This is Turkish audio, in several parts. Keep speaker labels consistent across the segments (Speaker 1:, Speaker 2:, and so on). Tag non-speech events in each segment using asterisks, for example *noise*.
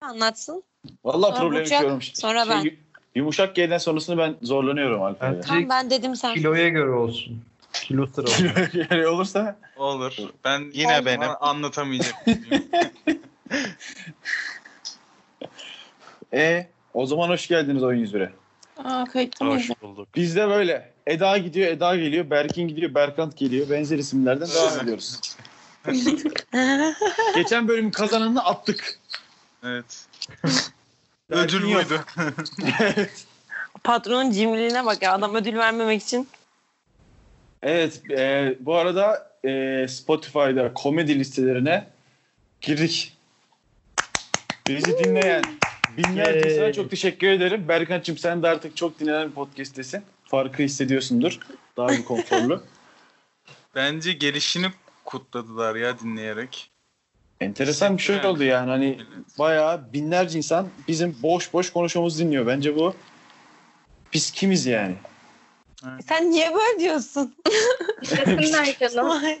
Speaker 1: anlatsın.
Speaker 2: Vallahi
Speaker 1: Sonra
Speaker 2: problemi
Speaker 1: Burçak,
Speaker 2: görmüş.
Speaker 1: sonra ben.
Speaker 2: Şey, Yumuşak gelen sonrasını ben zorlanıyorum Alper'e.
Speaker 3: Evet.
Speaker 1: Tamam ben dedim sen.
Speaker 3: Kiloya göre olsun. Kilo sıra.
Speaker 2: *laughs* Yani olursa
Speaker 4: Olur. Ben
Speaker 5: Yine
Speaker 4: Ama
Speaker 5: benim.
Speaker 4: anlatamayacağım.
Speaker 2: e o zaman hoş geldiniz oyun 101'e.
Speaker 1: Aa, kayıtlı mıyız?
Speaker 5: Hoş bulduk.
Speaker 2: Bizde böyle. Eda gidiyor, Eda geliyor, Berkin gidiyor, Berkant geliyor. Benzer isimlerden devam
Speaker 4: Evet.
Speaker 2: ediyoruz. Geçen bölümün kazananını attık. *laughs*
Speaker 4: evet.
Speaker 2: Berkin
Speaker 4: Ödül
Speaker 2: yok.
Speaker 4: buydu.
Speaker 1: Patronun cimriliğine bak ya adam ödül vermemek için.
Speaker 2: Evet, e, bu arada e, Spotify'da komedi listelerine girdik. Bizi dinleyen binlerce
Speaker 3: Yay.
Speaker 2: insana çok teşekkür ederim. Berkant'cığım sen de artık çok dinlenen bir podcast'tesin. Farkı hissediyorsundur. Daha bir *laughs* konforlu.
Speaker 4: Bence gelişini kutladılar ya dinleyerek.
Speaker 2: Enteresan bir şey oldu yani. Hani bayağı binlerce insan bizim boş boş konuşmamızı dinliyor. Bence bu biz kimiz yani?
Speaker 1: Sen niye böyle diyorsun? *laughs*
Speaker 6: Dinlesinler canım.
Speaker 1: Vay.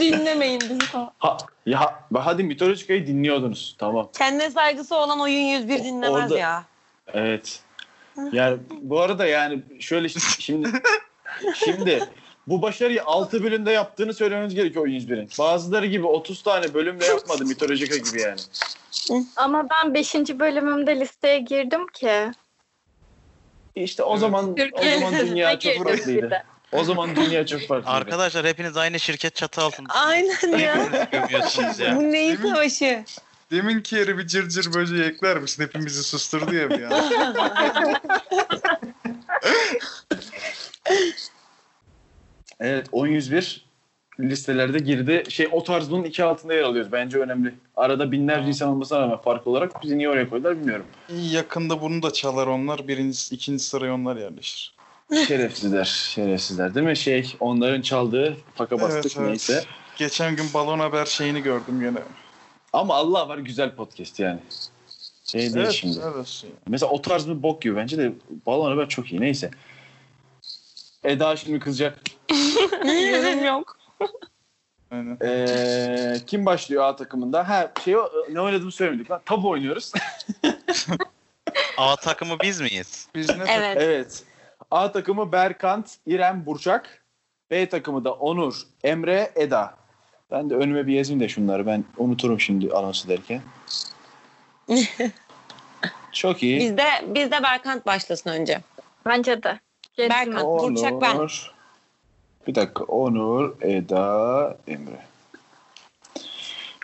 Speaker 1: Dinlemeyin bizi.
Speaker 2: Ha, ya bak hadi mitolojikayı dinliyordunuz. Tamam.
Speaker 1: Kendine saygısı olan oyun 101 dinlemez
Speaker 2: Orada-
Speaker 1: ya.
Speaker 2: Evet. Yani bu arada yani şöyle şi- şimdi şimdi bu başarıyı 6 bölümde yaptığını söylememiz gerekiyor oyun 101'in. Bazıları gibi 30 tane bölümle yapmadı mitolojika gibi yani.
Speaker 6: Ama ben 5. bölümümde listeye girdim ki.
Speaker 2: İşte o zaman o
Speaker 1: Türkiye
Speaker 2: zaman dünya çok
Speaker 6: girdim bir
Speaker 2: farklıydı.
Speaker 6: de.
Speaker 2: O zaman dünya çok farklıydı.
Speaker 5: Arkadaşlar hepiniz gömüyorsunuz şirket çatı altında
Speaker 1: Aynen ya.
Speaker 5: gömüyorsunuz ya.
Speaker 1: Bu neyin
Speaker 4: Değil mi?
Speaker 1: savaşı?
Speaker 4: Deminki yeri bir cırcır böceği ekler misin? *laughs* Hepimizi susturdu ya bir *laughs* an.
Speaker 2: Evet 101 listelerde girdi. Şey o tarz bunun iki altında yer alıyoruz. Bence önemli. Arada binlerce insan olmasına rağmen fark olarak bizi niye oraya koydular bilmiyorum.
Speaker 4: Yakında bunu da çalar onlar. Birinci, ikinci sıraya onlar yerleşir.
Speaker 2: Şerefsizler. Şerefsizler değil mi? Şey onların çaldığı faka bastık
Speaker 4: Evet, evet.
Speaker 2: neyse.
Speaker 4: Geçen gün balon haber şeyini gördüm yine.
Speaker 2: Ama Allah var güzel podcast yani. Şey değil
Speaker 4: Evet,
Speaker 2: şimdi.
Speaker 4: helal olsun ya.
Speaker 2: Mesela o tarz bir bok gibi bence de balon haber çok iyi. Neyse. Eda şimdi kızacak.
Speaker 1: Yorum yok.
Speaker 4: Aynen.
Speaker 2: Ee, kim başlıyor A takımında? Ha şey o- ne oynadığımı söylemedik lan. Tabu oynuyoruz.
Speaker 5: A takımı biz miyiz?
Speaker 4: Biz ne
Speaker 1: Evet.
Speaker 2: *laughs* evet. A takımı Berkant, İrem, Burçak. B takımı da Onur, Emre, Eda. Ben de önüme bir yazayım da şunları. Ben unuturum şimdi anonsu derken. Çok iyi.
Speaker 1: Bizde bizde Berkant başlasın önce.
Speaker 6: Bence de. Gentleman.
Speaker 1: Berkan. Burçak ben.
Speaker 2: Onur. Bir dakika. Onur, Eda, Emre.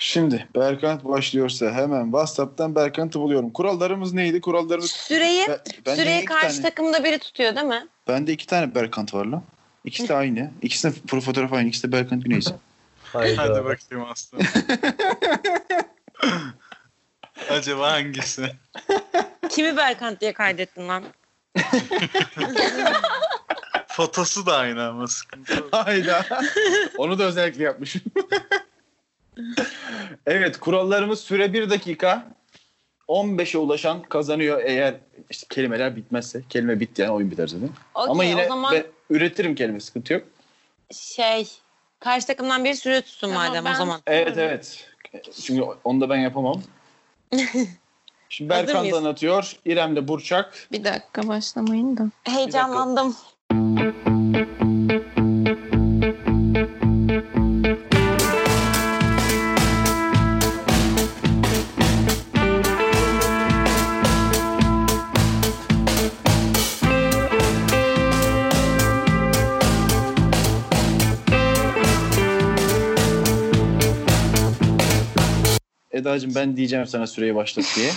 Speaker 2: Şimdi Berkant başlıyorsa hemen WhatsApp'tan Berkant'ı buluyorum. Kurallarımız neydi? Kurallarımız
Speaker 1: Süreyi
Speaker 2: ben, bende
Speaker 1: süreyi
Speaker 2: iki
Speaker 1: karşı
Speaker 2: tane,
Speaker 1: takımda biri tutuyor değil mi?
Speaker 2: bende iki tane Berkant var lan. İkisi de aynı. İkisi de pro fotoğraf aynı. İkisi de Berkant Güneysi.
Speaker 4: Hadi bakayım aslanım. Acaba hangisi?
Speaker 1: Kimi Berkant diye kaydettin lan?
Speaker 4: Fotosu da aynı ama sıkıntı yok.
Speaker 2: *laughs* Hayda. *laughs* Onu da özellikle yapmışım. *laughs* evet kurallarımız süre 1 dakika. 15'e ulaşan kazanıyor eğer işte kelimeler bitmezse. Kelime bitti yani oyun biter zaten.
Speaker 1: Okey,
Speaker 2: Ama yine
Speaker 1: o zaman
Speaker 2: ben üretirim kelime sıkıntı yok.
Speaker 1: şey karşı takımdan biri süre tutsun
Speaker 6: Tamam,
Speaker 1: madem
Speaker 6: ben-
Speaker 1: o zaman.
Speaker 2: Evet evet. Çünkü onu da
Speaker 1: *laughs*
Speaker 2: ben yapamam. Şimdi
Speaker 1: Hazır
Speaker 2: Berkan
Speaker 1: mıyız?
Speaker 2: da anlatıyor. İrem de Burçak.
Speaker 7: Bir dakika başlamayın da.
Speaker 1: Heyecanlandım.
Speaker 2: Eda'cığım ben diyeceğim sana süreyi başlat
Speaker 1: *laughs*
Speaker 2: diye.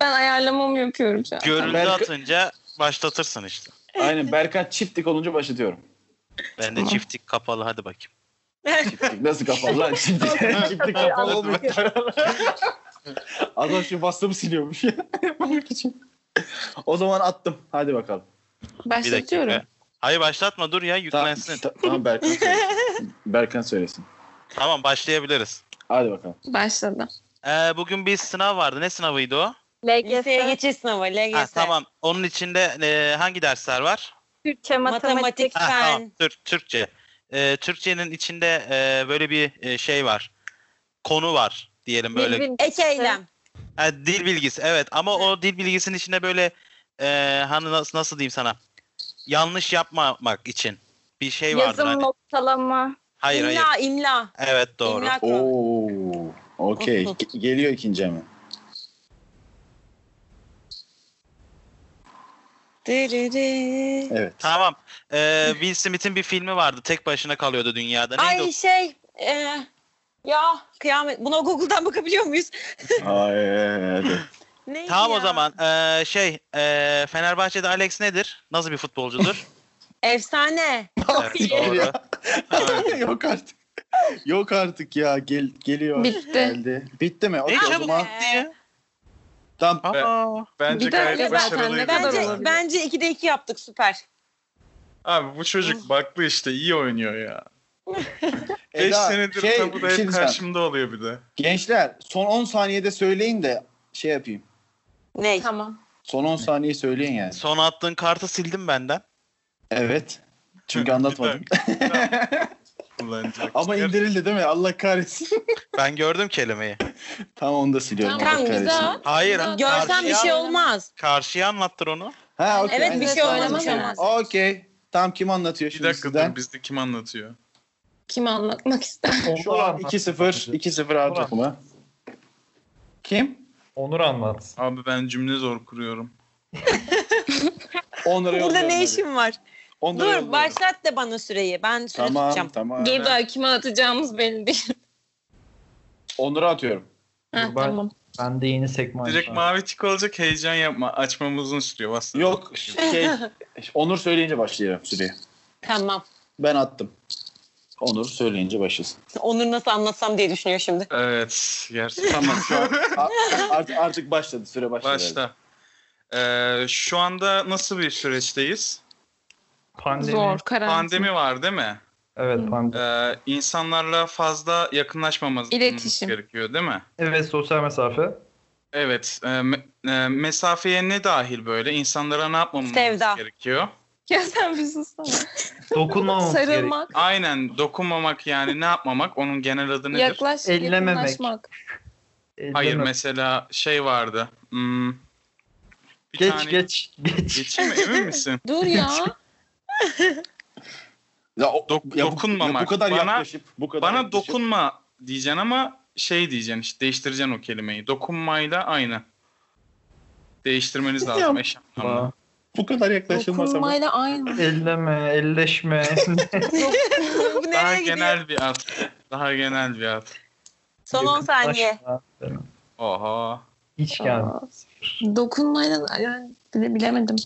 Speaker 7: Ben ayarlamamı yapıyorum şu an.
Speaker 5: Görüldü
Speaker 2: Berk-
Speaker 5: atınca başlatırsın işte.
Speaker 2: Aynen Berkan çiftlik olunca başlatıyorum.
Speaker 5: Ben de çiftlik kapalı hadi bakayım.
Speaker 2: Çiftlik nasıl kapalı lan çiftlik? çiftlik kapalı mı? *laughs* Adam şimdi WhatsApp'ı siliyormuş. *laughs* Yapmak için. o zaman attım. Hadi bakalım.
Speaker 5: Bir dakika.
Speaker 7: Başlatıyorum.
Speaker 5: Hayır başlatma dur ya yüklensin.
Speaker 2: Ta- tamam
Speaker 1: *laughs*
Speaker 2: Berkan söylesin. Berkan söylesin.
Speaker 5: Tamam başlayabiliriz.
Speaker 2: Hadi bakalım.
Speaker 7: Başladı.
Speaker 5: Ee, bugün bir sınav vardı. Ne sınavıydı o?
Speaker 1: Liseye
Speaker 6: LGS,
Speaker 1: geçiş sınavı, LGS.
Speaker 5: Ha, tamam. Onun içinde e, hangi dersler var?
Speaker 6: Türkçe, matematik.
Speaker 1: Matematik,
Speaker 5: Ha,
Speaker 1: fen.
Speaker 5: tamam. Tür- Türkçe. Ee, Türkçenin içinde e, böyle bir e, şey var. Konu var diyelim böyle.
Speaker 6: Bilbil,
Speaker 1: Ek eylem.
Speaker 5: Ha, dil bilgisi evet ama o dil bilgisinin içinde böyle e, hani nasıl, nasıl diyeyim sana yanlış yapmamak için bir şey vardı.
Speaker 6: Yazım
Speaker 5: Hani.
Speaker 6: noktalama.
Speaker 5: Hayır hayır.
Speaker 1: imla, imla.
Speaker 5: Evet doğru.
Speaker 1: İmla kuralı.
Speaker 2: Oo.
Speaker 1: *laughs*
Speaker 2: Okey. Ge- Geliyor ikinci hemen.
Speaker 1: Dırırı.
Speaker 2: Evet.
Speaker 5: Tamam. E, Will Smith'in bir filmi vardı. Tek başına kalıyordu dünyada. Neydi
Speaker 1: Ay şey e, ya kıyamet. Buna Google'dan bakabiliyor muyuz?
Speaker 2: Hayır.
Speaker 1: Neydi
Speaker 5: o? Tamam o
Speaker 1: ya?
Speaker 5: zaman. E, şey e, Fenerbahçe'de Alex nedir? Nasıl
Speaker 1: *laughs*
Speaker 5: bir futbolcudur?
Speaker 1: Efsane.
Speaker 5: evet,
Speaker 2: *laughs* *laughs*
Speaker 5: doğru.
Speaker 2: Yok artık. Yok artık ya. Gel, geliyor.
Speaker 7: Bitti.
Speaker 2: Geldi. Bitti mi?
Speaker 5: Ne
Speaker 2: Okey o
Speaker 5: çabuk
Speaker 1: Ee.
Speaker 2: zaman.
Speaker 5: gitti ya.
Speaker 2: Tam
Speaker 5: Aa.
Speaker 4: Bence
Speaker 7: Bir dakika
Speaker 4: gayet
Speaker 7: zaten, ne
Speaker 4: başarılıydı.
Speaker 7: kadar
Speaker 1: Bence
Speaker 7: olabilir?
Speaker 1: bence 2'de 2 yaptık süper.
Speaker 4: Abi bu çocuk baklı işte iyi oynuyor ya. 5
Speaker 2: Eda,
Speaker 4: senedir
Speaker 2: şey,
Speaker 4: tabuda
Speaker 2: bir şey
Speaker 4: hep
Speaker 2: diyeceğim.
Speaker 4: karşımda oluyor bir de.
Speaker 2: Gençler son 10 saniyede söyleyin de şey yapayım.
Speaker 1: Ney?
Speaker 7: Tamam.
Speaker 2: Son 10 saniye söyleyin yani.
Speaker 5: Son attığın kartı sildim benden.
Speaker 2: Evet. Çünkü anlatmadım.
Speaker 4: Kullanacak.
Speaker 2: *laughs* Ama indirildi değil mi? Allah kahretsin. *laughs*
Speaker 5: Ben gördüm kelimeyi.
Speaker 2: Tam onu da siliyorum.
Speaker 7: Tamam,
Speaker 2: Allah kahretsin.
Speaker 7: güzel.
Speaker 5: Hayır.
Speaker 7: Görsem
Speaker 5: karşıya-
Speaker 1: Görsen bir şey olmaz.
Speaker 5: Karşıya anlattır onu.
Speaker 2: Ha, okey.
Speaker 1: Evet, bir
Speaker 2: Aynen,
Speaker 1: şey
Speaker 2: tamam,
Speaker 1: oynamaz
Speaker 2: okey.
Speaker 1: ama.
Speaker 2: Okey. Tam kim anlatıyor
Speaker 4: Bir
Speaker 2: şimdi
Speaker 4: dakika
Speaker 2: sizden?
Speaker 4: dur bizde kim anlatıyor?
Speaker 7: Kim anlatmak ister?
Speaker 2: Şu an 2-0. 2-0 ağır
Speaker 3: Ulan.
Speaker 2: takımı. Kim?
Speaker 3: Onur anlat.
Speaker 4: Abi ben cümle zor kuruyorum.
Speaker 2: Onur'a
Speaker 1: Burada
Speaker 2: yolluyorum
Speaker 1: ne
Speaker 2: hadi.
Speaker 1: işin var?
Speaker 2: Onur'a
Speaker 1: Dur
Speaker 2: yolluyorum.
Speaker 1: başlat da bana süreyi. Ben süre
Speaker 2: Tamam
Speaker 1: tutacağım.
Speaker 2: tamam.
Speaker 7: Dur daha kime atacağımız belli değil.
Speaker 2: Onur'a atıyorum.
Speaker 7: Ha,
Speaker 3: Dur, ben-
Speaker 7: tamam.
Speaker 3: Ben de yeni sekman.
Speaker 4: Direkt mavi tik olacak heyecan yapma. Açmam uzun sürüyor. WhatsApp.
Speaker 2: Yok şey
Speaker 1: *laughs*
Speaker 2: Onur söyleyince başlayacağım süreyi.
Speaker 1: Tamam.
Speaker 2: Ben attım. Onur söyleyince başlasın.
Speaker 1: Onur nasıl anlatsam diye düşünüyor şimdi.
Speaker 4: Evet.
Speaker 2: *laughs*
Speaker 4: Gerçekten.
Speaker 2: Tamam şu an a- artık, artık başladı süre başladı.
Speaker 4: Başla. Ee, şu anda nasıl bir süreçteyiz?
Speaker 3: Pandemi.
Speaker 7: Zor. Karantina.
Speaker 4: Pandemi var değil mi?
Speaker 3: Evet pandemi.
Speaker 4: Ee, insanlarla fazla yakınlaşmamamız
Speaker 7: İletişim.
Speaker 4: gerekiyor değil mi?
Speaker 3: Evet sosyal mesafe.
Speaker 4: Evet. e, me- e, mesafeye ne dahil böyle? İnsanlara ne yapmamız
Speaker 1: Sevda.
Speaker 4: gerekiyor?
Speaker 7: *laughs* Ya sen bir sussana.
Speaker 3: Dokunmamamız gerek.
Speaker 7: Sarılmak,
Speaker 4: Aynen dokunmamak yani ne yapmamak onun genel adı nedir?
Speaker 7: yaklaş,
Speaker 3: Ellememek.
Speaker 7: yakınlaşmak.
Speaker 4: Hayır
Speaker 3: Ellemek.
Speaker 4: mesela şey vardı. Hmm, bir
Speaker 3: Geç,
Speaker 4: tane-
Speaker 3: geç geç
Speaker 4: Geçeyim mi?
Speaker 3: *laughs*
Speaker 4: emin misin?
Speaker 1: *laughs*
Speaker 7: Dur ya.
Speaker 2: Ya, o-
Speaker 4: Dok-
Speaker 2: ya bu-
Speaker 4: dokunmamak.
Speaker 2: ya bu kadar
Speaker 4: Bana-
Speaker 2: yaklaşıp bu kadar
Speaker 4: Bana
Speaker 2: yaklaşıp-
Speaker 4: dokunma diyeceksin ama şey diyeceksin işte değiştireceksin o kelimeyi. Dokunmayla aynı. Değiştirmeniz lazım eş anlamlı.
Speaker 3: Aa,
Speaker 2: bu kadar yaklaşılmaz ama.
Speaker 7: Dokunmayla aynı.
Speaker 3: Elleme, elleşme.
Speaker 7: *laughs*
Speaker 1: Bu nereye
Speaker 4: Daha
Speaker 1: gidiyor?
Speaker 4: genel bir ad. Daha genel bir ad.
Speaker 1: Son 10 saniye.
Speaker 3: Yakınlaşma.
Speaker 4: Oha.
Speaker 3: Hiç gelmedi.
Speaker 7: Aa, Dokunmayla yani bile- bilemedim.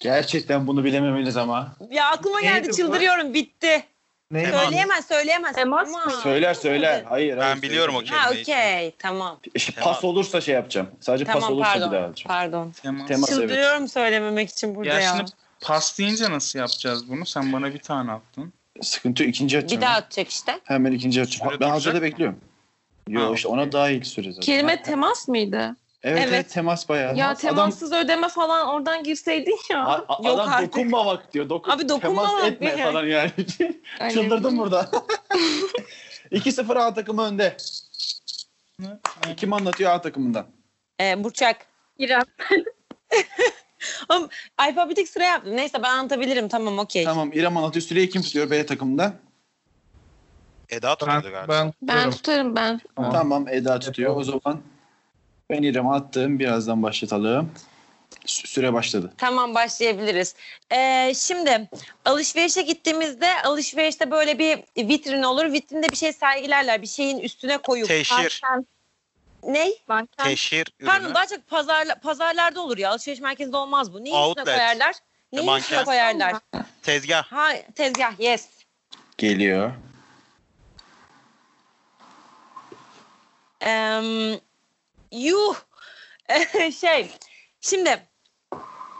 Speaker 2: Gerçekten bunu bilememeniz ama.
Speaker 1: Ya aklıma
Speaker 3: Neydi
Speaker 1: geldi
Speaker 3: bu?
Speaker 1: çıldırıyorum bitti.
Speaker 3: Neydi?
Speaker 5: Temas.
Speaker 1: Söyleyemez söyleyemez.
Speaker 6: Temas mı?
Speaker 1: Aman.
Speaker 2: Söyler söyler. Hayır.
Speaker 5: Ben
Speaker 2: hayır,
Speaker 5: biliyorum o
Speaker 2: söyleyemez.
Speaker 1: Ha okey tamam.
Speaker 2: Pas olursa şey yapacağım. Sadece pas
Speaker 1: Tamam
Speaker 2: olursa bir daha
Speaker 1: pardon.
Speaker 2: alacağım.
Speaker 1: Pardon.
Speaker 4: Temas.
Speaker 2: Temas evet.
Speaker 1: Çıldırıyorum söylememek için burada
Speaker 4: Ya
Speaker 1: ya.
Speaker 4: şimdi pas deyince nasıl yapacağız bunu? Sen bana bir tane attın.
Speaker 2: Sıkıntı yok, ikinci
Speaker 1: Bir
Speaker 2: atacağım.
Speaker 1: daha atacak işte.
Speaker 2: Hemen ikinci atacağım. ben
Speaker 4: Süre duracak
Speaker 2: hazırda
Speaker 4: mı?
Speaker 2: bekliyorum. Yok
Speaker 4: Ha,
Speaker 2: işte ona daha iyi süre zaten.
Speaker 7: Kelime temas mıydı?
Speaker 2: Evet, evet,
Speaker 1: Evet.
Speaker 2: temas bayağı.
Speaker 7: Ya
Speaker 2: Adam-
Speaker 7: temassız ödeme falan oradan girseydin ya.
Speaker 2: A- a-
Speaker 1: Yok
Speaker 2: adam
Speaker 1: artık.
Speaker 2: dokunmamak diyor. Dokun,
Speaker 1: Abi dokunmamak
Speaker 2: temas etme
Speaker 1: ne
Speaker 2: falan yani. *laughs*
Speaker 7: Ay,
Speaker 2: Çıldırdım burada. 2-0 A takımı önde. Kim anlatıyor A takımından?
Speaker 1: Ee, Burçak.
Speaker 6: İrem.
Speaker 1: Alfabetik sıra yaptım. Neyse ben anlatabilirim tamam okey.
Speaker 2: Tamam İrem anlatıyor. Süreyi kim tutuyor B takımından?
Speaker 5: Eda
Speaker 3: Ben,
Speaker 5: tutuyordu galiba.
Speaker 3: ben,
Speaker 7: Ben
Speaker 3: tutuyorum.
Speaker 7: tutarım ben.
Speaker 3: Tamam.
Speaker 2: Tamam Eda tutuyor. O zaman ben İrem'e attım. Birazdan başlatalım. Sü- Süre başladı.
Speaker 1: Tamam başlayabiliriz. Ee, şimdi alışverişe gittiğimizde alışverişte böyle bir vitrin olur. Vitrinde bir şey sergilerler. Bir şeyin üstüne koyup.
Speaker 5: Teşhir.
Speaker 1: Ney?
Speaker 6: Banken.
Speaker 5: Teşhir ürünü.
Speaker 1: Pardon daha çok pazarla, pazarlarda olur ya. Alışveriş merkezinde olmaz bu. Neyin
Speaker 5: Outlet. E,
Speaker 1: üstüne koyarlar? Neyin üstüne
Speaker 5: Manken.
Speaker 1: koyarlar?
Speaker 5: Tezgah.
Speaker 1: Ha tezgah yes.
Speaker 2: Geliyor.
Speaker 1: Em, yuh *laughs* şey şimdi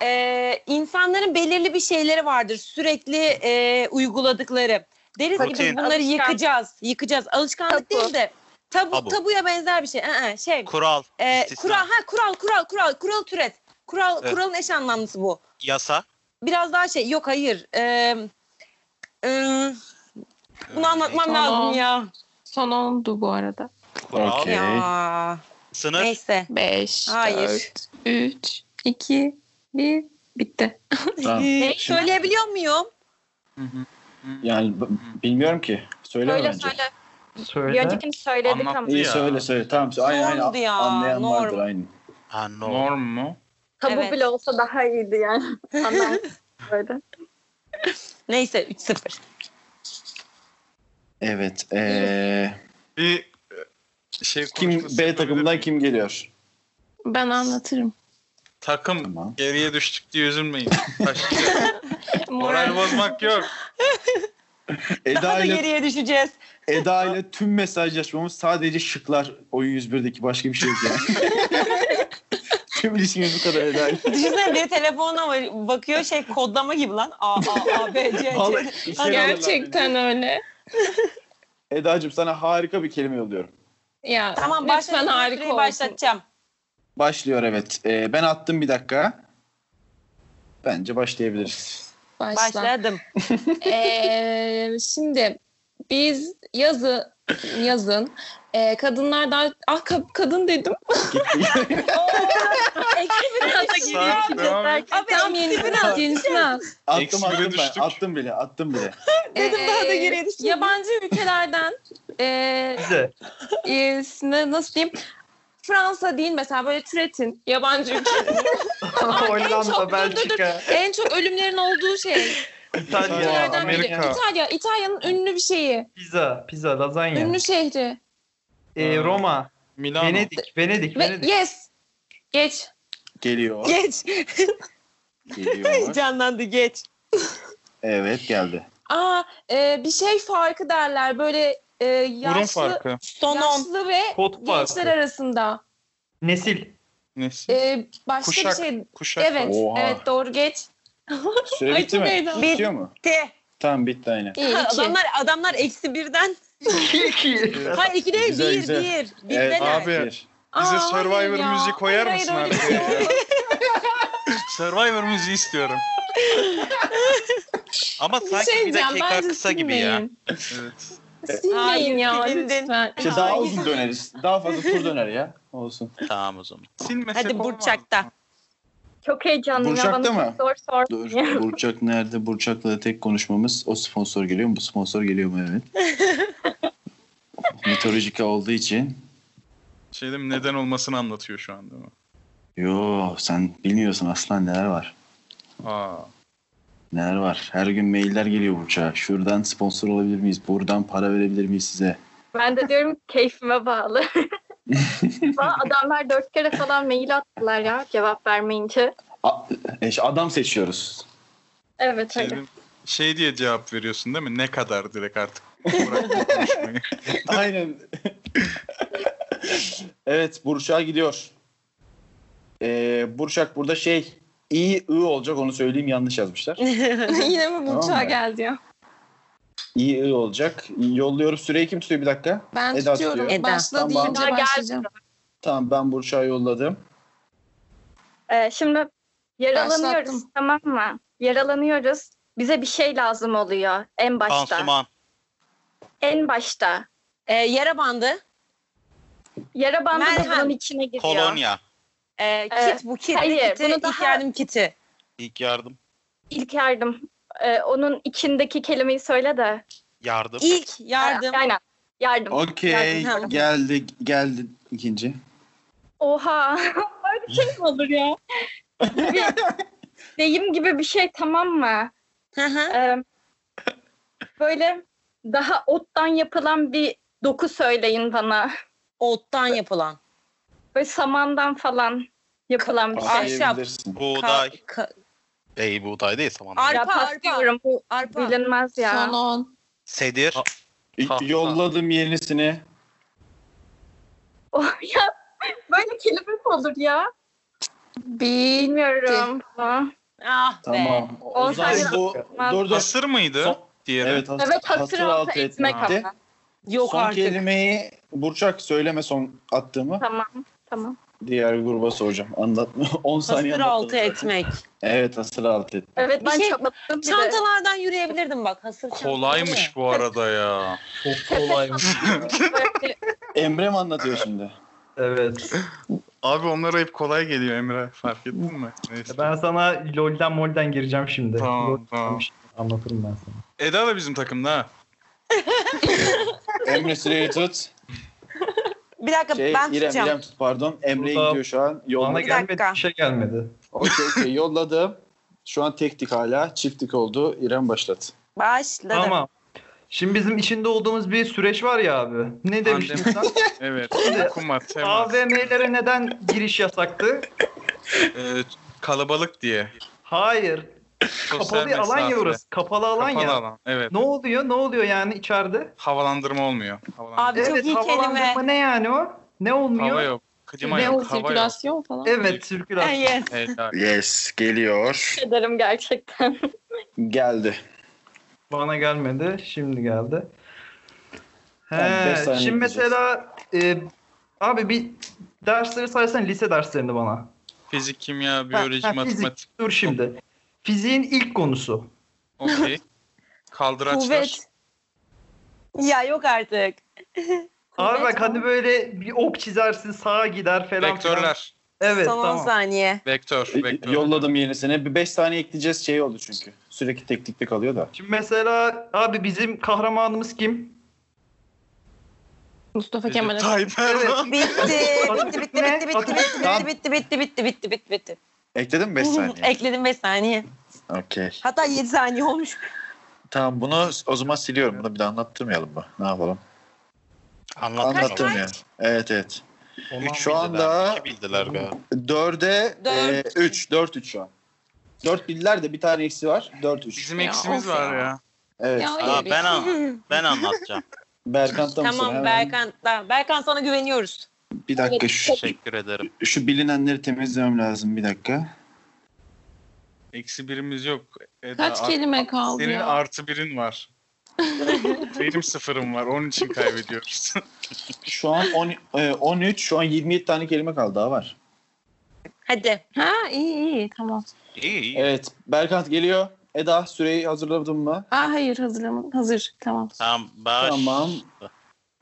Speaker 1: e, insanların belirli bir şeyleri vardır sürekli e, uyguladıkları. Deriz ki biz
Speaker 5: Rutin.
Speaker 1: bunları
Speaker 6: Alışkan-
Speaker 1: yıkacağız, yıkacağız. Alışkanlık
Speaker 6: Tabu.
Speaker 1: değil de tabu,
Speaker 5: Tabu.
Speaker 1: tabuya benzer bir şey. Ee, şey
Speaker 5: Kural.
Speaker 1: e,
Speaker 5: istisna,
Speaker 1: kural ha kural kural kural kural türet. Kural
Speaker 5: Evet.
Speaker 1: kuralın eş anlamlısı bu.
Speaker 5: Yasa.
Speaker 1: Biraz daha şey yok hayır. Em, em, bunu anlatmam
Speaker 7: Tamam.
Speaker 1: lazım ya.
Speaker 7: Son oldu bu arada.
Speaker 5: Ee, Kural.
Speaker 2: Okey.
Speaker 1: Ya.
Speaker 5: Sınır.
Speaker 1: Neyse.
Speaker 7: 5,
Speaker 1: Hayır.
Speaker 7: 4, 3, 2, 1. Bitti.
Speaker 2: Tamam.
Speaker 1: Ne? Söyleyebiliyor muyum?
Speaker 4: Hı hı.
Speaker 2: Yani b- bilmiyorum ki. Söyle
Speaker 6: Söyle
Speaker 2: önce.
Speaker 6: söyle.
Speaker 3: Söyle.
Speaker 6: Bir öncekini söyledik
Speaker 4: Anlat.
Speaker 6: ama.
Speaker 2: İyi
Speaker 4: Ya.
Speaker 2: söyle söyle. Tamam. Aynı
Speaker 1: Normdu
Speaker 2: aynı
Speaker 1: ya,
Speaker 2: anlayan
Speaker 1: norm.
Speaker 2: vardır aynı.
Speaker 5: Ha, no.
Speaker 4: Norm mu?
Speaker 6: Tabu
Speaker 1: Evet.
Speaker 6: bile olsa daha iyiydi yani. Anlam böyle.
Speaker 1: Neyse 3-0.
Speaker 2: Evet. Ee,
Speaker 4: Bir e, şey
Speaker 2: kim
Speaker 4: konuşması
Speaker 2: B
Speaker 4: yapabilir
Speaker 2: takımından
Speaker 4: miyim?
Speaker 2: kim geliyor?
Speaker 7: Ben anlatırım.
Speaker 4: Takım
Speaker 2: Tamam.
Speaker 4: geriye düştük diye üzülmeyin.
Speaker 1: *laughs*
Speaker 4: Başlayacağız. Moral bozmak yok.
Speaker 1: Daha
Speaker 2: Eda
Speaker 1: da
Speaker 2: ile
Speaker 1: geriye düşeceğiz.
Speaker 2: Eda ile tüm mesajlaşmamız sadece şıklar oyun 101'deki başka bir şey yok yani.
Speaker 7: *laughs*
Speaker 2: tüm ilişkimiz bu kadar Eda ile.
Speaker 1: Düşünsene biri telefonuna var- bakıyor şey kodlama gibi lan. A, A, A, B, C, C.
Speaker 2: Vallahi içeri şey alırlar beni.
Speaker 7: Gerçekten öyle.
Speaker 2: Eda'cığım sana harika bir kelime yolluyorum.
Speaker 7: Ya
Speaker 1: Tamam
Speaker 7: lütfen
Speaker 1: başla.
Speaker 7: harika
Speaker 1: Harika
Speaker 7: olsun.
Speaker 1: başlatacağım.
Speaker 2: Başlıyor evet. Ee, ben attım bir dakika. Bence başlayabiliriz.
Speaker 7: Başla.
Speaker 1: Başladım.
Speaker 7: Ee, *laughs* şimdi biz yazı yazın e, kadınlardan ah ka- kadın dedim. *laughs*
Speaker 2: Gitti.
Speaker 4: Sağ- devam et.
Speaker 1: Abi
Speaker 7: Tam yenisini al. Yenisini al.
Speaker 2: attım
Speaker 4: Eksi bire
Speaker 2: attım ben.
Speaker 4: düştük.
Speaker 2: Attım bile attım bile.
Speaker 1: Dedim daha da
Speaker 7: Ee,
Speaker 1: geriye düştüm.
Speaker 7: Yabancı ülkelerden e,
Speaker 3: Bize.
Speaker 7: e, sine- nasıl diyeyim Fransa değil mesela böyle türetin yabancı ülke.
Speaker 4: *laughs*
Speaker 3: Hollanda,
Speaker 7: çok-
Speaker 3: Belçika,
Speaker 7: en çok ölümlerin olduğu şey.
Speaker 3: İtalya,
Speaker 7: Ülkelerden biri.
Speaker 3: Amerika,
Speaker 7: İtalya. İtalya'nın ünlü bir şeyi.
Speaker 3: pizza, pizza, lazanya,
Speaker 7: Ünlü şehri.
Speaker 3: ee, Roma,
Speaker 4: Milano.
Speaker 3: Venedik, Venedik,
Speaker 7: Ve
Speaker 3: Venedik.
Speaker 7: yes. Geç.
Speaker 2: Geliyor.
Speaker 1: Geç.
Speaker 2: Geliyor.
Speaker 1: Canlandı geç.
Speaker 2: Evet geldi.
Speaker 7: Aa e, bir şey farkı derler böyle e,
Speaker 4: Burun
Speaker 7: yaşlı
Speaker 4: farkı.
Speaker 1: Son 10.
Speaker 7: yaşlı ve
Speaker 3: Kod
Speaker 7: gençler
Speaker 3: farkı.
Speaker 7: arasında.
Speaker 3: Nesil.
Speaker 4: Nesil.
Speaker 1: E,
Speaker 7: Ee, başka
Speaker 4: Kuşak.
Speaker 7: bir şey.
Speaker 4: Kuşak.
Speaker 7: Evet,
Speaker 2: Oha.
Speaker 7: evet doğru geç.
Speaker 2: Süre
Speaker 7: Ay,
Speaker 2: bitti
Speaker 7: çok
Speaker 2: mi?
Speaker 7: heyecanlı.
Speaker 2: Bitiyor mu?
Speaker 1: T.
Speaker 2: Tamam bitti aynen.
Speaker 7: İyi, iki.
Speaker 1: Adamlar adamlar eksi birden. Hayır iki değil
Speaker 2: Güzel,
Speaker 1: bir
Speaker 2: güzel.
Speaker 1: bir. Bir
Speaker 2: Evet,
Speaker 1: neler?
Speaker 4: abi.
Speaker 2: bir.
Speaker 7: Aa,
Speaker 4: Bize
Speaker 7: hayır
Speaker 4: Survivor
Speaker 7: ya.
Speaker 4: müziği koyar
Speaker 7: Hayır,
Speaker 4: mısın
Speaker 7: hayır,
Speaker 4: arkaya
Speaker 7: öyle bir şey
Speaker 4: ya?
Speaker 7: yok.
Speaker 4: Survivor müziği istiyorum.
Speaker 5: Ama
Speaker 7: Bir
Speaker 5: sanki
Speaker 7: şey
Speaker 5: bir
Speaker 7: diyeceğim,
Speaker 5: dakika
Speaker 7: bence
Speaker 5: kısa gibi ya.
Speaker 7: silmeyin.
Speaker 4: Evet.
Speaker 7: Ee, Silmeyin ya
Speaker 1: Hayır, silindin.
Speaker 7: lütfen.
Speaker 2: İşte daha uzun döneriz. Daha fazla tur döner ya. Olsun.
Speaker 5: Tamam o zaman.
Speaker 4: Silmesek
Speaker 1: Hadi
Speaker 4: olmaz
Speaker 1: Burçak'ta.
Speaker 4: mı?
Speaker 6: Çok heyecanlıyım. ya,
Speaker 2: Burçak'ta
Speaker 6: bana
Speaker 2: mı?
Speaker 6: Sor sor.
Speaker 2: Dur. Burçak nerede? Burçak'la da tek konuşmamız. O sponsor geliyor mu? Bu sponsor geliyor mu? Evet. Mitolojika olduğu için.
Speaker 4: Şey değil mi, neden olmasını anlatıyor şu anda mı?
Speaker 2: Yo sen bilmiyorsun aslan neler var.
Speaker 4: Aa.
Speaker 2: Neler var. Her gün mailler geliyor Burçak'a. Şuradan sponsor olabilir miyiz? Buradan para verebilir miyiz size?
Speaker 6: Ben de diyorum
Speaker 5: *laughs*
Speaker 6: keyfime bağlı. Bana adamlar dört kere falan mail attılar ya cevap vermeyince.
Speaker 2: A- e, işte adam seçiyoruz.
Speaker 6: Evet
Speaker 4: Şey,
Speaker 6: öyle.
Speaker 4: değil mi, şey diye cevap veriyorsun değil mi? Ne kadar
Speaker 1: *laughs*
Speaker 4: direkt artık. Bırakma konuşmayı.
Speaker 2: Aynen. *laughs* evet Burçak'a gidiyor. Ee, Burçak burada şey iyi ı olacak onu söyleyeyim yanlış yazmışlar.
Speaker 7: *laughs* Yine mi Burçak'a
Speaker 2: Tamam be.
Speaker 7: geldi ya?
Speaker 2: İyi ı olacak. Yolluyorum süreyi kim tutuyor bir dakika?
Speaker 7: Ben
Speaker 2: Eda
Speaker 7: tutuyorum.
Speaker 2: tutuyor.
Speaker 7: Başla
Speaker 2: Eda,
Speaker 7: deyince
Speaker 6: tamam.
Speaker 7: başlayacağım.
Speaker 2: Tamam ben Burçak'a yolladım.
Speaker 6: Ee, şimdi yaralanıyoruz
Speaker 7: Başlattım.
Speaker 6: tamam mı? Yaralanıyoruz. Bize bir şey lazım oluyor en başta.
Speaker 5: Pansuman.
Speaker 6: En başta.
Speaker 1: Ee, yara bandı.
Speaker 6: Yara bandı da
Speaker 1: Merhem.
Speaker 6: bunun içine giriyor.
Speaker 5: Kolonya.
Speaker 1: Ee,
Speaker 6: Ee,
Speaker 1: kit bu kit.
Speaker 6: hayır,
Speaker 1: kiti,
Speaker 6: bunu
Speaker 1: ilk
Speaker 6: daha-
Speaker 1: yardım kiti.
Speaker 5: İlk yardım.
Speaker 6: İlk yardım. Ee, onun içindeki kelimeyi söyle de.
Speaker 5: Yardım.
Speaker 1: İlk yardım.
Speaker 6: Ha, Aynen. Yardım.
Speaker 2: Okey
Speaker 1: Yardım.
Speaker 2: geldi geldi ikinci.
Speaker 6: Oha. *laughs* Öyle bir şey mi olur ya? Bir deyim gibi bir şey tamam mı?
Speaker 1: Hı hı.
Speaker 6: Ee, böyle daha ottan yapılan bir doku söyleyin bana.
Speaker 1: Ottan yapılan.
Speaker 6: Böyle samandan falan yapılan bir şey.
Speaker 2: Başlayabilirsin.
Speaker 5: Buğday.
Speaker 1: Ka- ka-
Speaker 5: Bey buğday değil saman.
Speaker 1: Ar-
Speaker 6: Ya
Speaker 1: Arpa,
Speaker 6: pas
Speaker 1: arpa.
Speaker 6: diyorum. Bu
Speaker 1: arpa.
Speaker 6: bilinmez ya.
Speaker 7: Son
Speaker 6: *laughs*
Speaker 7: 10.
Speaker 5: Sedir.
Speaker 4: A-
Speaker 2: İ- Yolladım yenisini.
Speaker 6: Oh, ya böyle kelime mi olur ya?
Speaker 7: *laughs* Bir.
Speaker 6: Bilmiyorum. Ha.
Speaker 1: Ah be.
Speaker 2: Tamam. O
Speaker 6: On
Speaker 2: zaman
Speaker 6: saniye.
Speaker 2: bu dur dur.
Speaker 4: Hasır mıydı?
Speaker 2: Son-
Speaker 4: Diğeri.
Speaker 2: Evet hasır,
Speaker 6: Evet hasır altı etmek
Speaker 2: etmekti.
Speaker 6: ama.
Speaker 1: Yok
Speaker 2: son
Speaker 1: artık.
Speaker 2: kelimeyi Burçak söyleme son attığımı.
Speaker 6: Tamam tamam.
Speaker 2: Diğer gruba soracağım. *laughs* Anlatma. 10 saniye
Speaker 1: Hasır altı
Speaker 2: anlatmadım.
Speaker 1: etmek.
Speaker 2: Evet hasır altı et.
Speaker 6: Evet
Speaker 1: Bir
Speaker 6: ben
Speaker 1: şey-
Speaker 6: çabaladım bir de.
Speaker 1: Çantalardan yürüyebilirdim bak. Hasır çantaları.
Speaker 4: Kolaymış bu arada ya.
Speaker 1: *laughs*
Speaker 3: Çok kolaymış.
Speaker 2: Emre mi anlatıyor şimdi?
Speaker 3: Evet.
Speaker 4: Abi onlara hep kolay geliyor Emre. Fark ettin mi? Neyse.
Speaker 3: Ben sana LoL'den mol'den gireceğim şimdi.
Speaker 4: Tamam,
Speaker 3: LoL
Speaker 4: tamam.
Speaker 3: girmiş. Anlatırım ben sana.
Speaker 4: Eda da bizim takımda ha.
Speaker 2: Emre Süreyi tut.
Speaker 1: Bir dakika
Speaker 2: Şey,
Speaker 1: ben
Speaker 2: İrem,
Speaker 1: tutacağım.
Speaker 2: İrem tut pardon. Emre
Speaker 3: Burada-
Speaker 2: gidiyor şu an.
Speaker 3: Bana
Speaker 2: Yolladım.
Speaker 1: Bir dakika.
Speaker 3: gelmedi, bir şey gelmedi.
Speaker 2: *laughs* Okey okey yolladım. Şu an tektik hala. Çiftlik oldu. İrem başlat.
Speaker 1: Başladı.
Speaker 3: Tamam. Şimdi bizim içinde olduğumuz bir süreç var ya abi. Ne demiştin
Speaker 4: *laughs*
Speaker 3: sen?
Speaker 4: Şey Evet. Kumat. temas.
Speaker 3: AVM'lere neden giriş yasaktı?
Speaker 4: Ee, kalabalık diye.
Speaker 3: Hayır.
Speaker 4: Sosyal
Speaker 3: Kapalı alan
Speaker 4: mesafe.
Speaker 3: ya orası. Kapalı alan
Speaker 4: Kapalı
Speaker 3: ya.
Speaker 4: alan. Evet.
Speaker 3: Ne oluyor? Ne oluyor yani içeride?
Speaker 4: Havalandırma olmuyor. Havalandırma.
Speaker 1: Abi çok iyi kelime.
Speaker 3: havalandırma ne yani o? Ne olmuyor?
Speaker 4: Hava yok. Klima
Speaker 7: Ne o
Speaker 4: yok. Hava yok.
Speaker 7: sirkülasyon falan.
Speaker 3: Evet, sirkülasyon.
Speaker 1: Hayır.
Speaker 4: Eda.
Speaker 2: Yes geliyor.
Speaker 6: Ederim gerçekten.
Speaker 2: Geldi.
Speaker 3: Bana gelmedi. Şimdi geldi. He,
Speaker 2: Tamam, beş saniye bekleyeceğiz.
Speaker 3: şimdi mesela e, abi bir dersleri saysan lise derslerini bana.
Speaker 4: Fizik, kimya,
Speaker 3: Ha,
Speaker 4: biyoloji,
Speaker 3: ha,
Speaker 4: matematik.
Speaker 3: Fizik. Dur şimdi. Fiziğin ilk konusu.
Speaker 4: Okey. Kaldıraçlar.
Speaker 1: Kuvvet. Ya yok artık.
Speaker 3: Abi
Speaker 1: Kuvvet
Speaker 3: bak hadi böyle bir ok çizersin sağa gider falan. filan.
Speaker 4: Vektörler.
Speaker 3: Evet
Speaker 1: Son 10
Speaker 3: tamam.
Speaker 1: saniye.
Speaker 4: Vektör. Vektör.
Speaker 2: Yolladım yenisine. Bir 5 saniye ekleyeceğiz şey oldu çünkü. Sürekli teknikte kalıyor da.
Speaker 3: Şimdi mesela abi bizim kahramanımız kim?
Speaker 7: Mustafa
Speaker 4: Recep
Speaker 7: Kemal Atatürk.
Speaker 5: Tayyip
Speaker 4: *laughs*
Speaker 5: Erdoğan.
Speaker 1: Bitti. Bitti bitti bitti
Speaker 3: Ne?
Speaker 1: bitti bitti
Speaker 3: Tamam.
Speaker 1: bitti bitti bitti bitti bitti bitti bitti.
Speaker 8: Ekledin mi 5 saniye?
Speaker 1: Ekledim 5 saniye.
Speaker 8: Okey.
Speaker 1: Hatta 7 saniye olmuş.
Speaker 8: Tamam bunu o zaman siliyorum. Bunu bir daha anlattırmayalım mı? Ne yapalım?
Speaker 5: Anlattım.
Speaker 8: Anlattırmayalım. Evet evet. Şu
Speaker 5: Bildiler,
Speaker 8: anda
Speaker 5: iki bildiler be.
Speaker 8: 4'e
Speaker 1: Dört.
Speaker 2: 3. 4-3 şu an. 4 bildiler de bir tane eksi var. 4-3.
Speaker 4: Bizim
Speaker 7: Ya,
Speaker 4: eksimiz
Speaker 7: of
Speaker 4: var
Speaker 7: ya.
Speaker 4: ya.
Speaker 2: Evet.
Speaker 7: Ya,
Speaker 5: Aa,
Speaker 7: hayır.
Speaker 1: *laughs*
Speaker 5: ben, an- ben anlatacağım.
Speaker 2: Berkant'ta mısın?
Speaker 1: Tamam
Speaker 2: Hemen.
Speaker 1: Berkan. da- Berkan sana güveniyoruz.
Speaker 2: Bir dakika şu, şey,
Speaker 5: Teşekkür ederim.
Speaker 2: şu bilinenleri temizlemem lazım bir dakika.
Speaker 4: Eksi birimiz yok. Eda,
Speaker 7: Kaç
Speaker 4: ar-
Speaker 7: kelime kaldı
Speaker 4: Senin
Speaker 7: ya?
Speaker 4: artı birin
Speaker 7: *laughs*
Speaker 4: var. Benim sıfırım var. Onun için kaybediyoruz.
Speaker 2: Şu an on- e, 13, şu an 27 tane kelime kaldı daha var.
Speaker 1: Hadi.
Speaker 7: Ha iyi iyi tamam.
Speaker 5: İyi iyi.
Speaker 2: Evet. Berkant geliyor. Eda süreyi hazırladın mı?
Speaker 7: Aa hayır hazırım. Hazır tamam.
Speaker 5: Tamam. Baş...
Speaker 2: Tamam. Başladık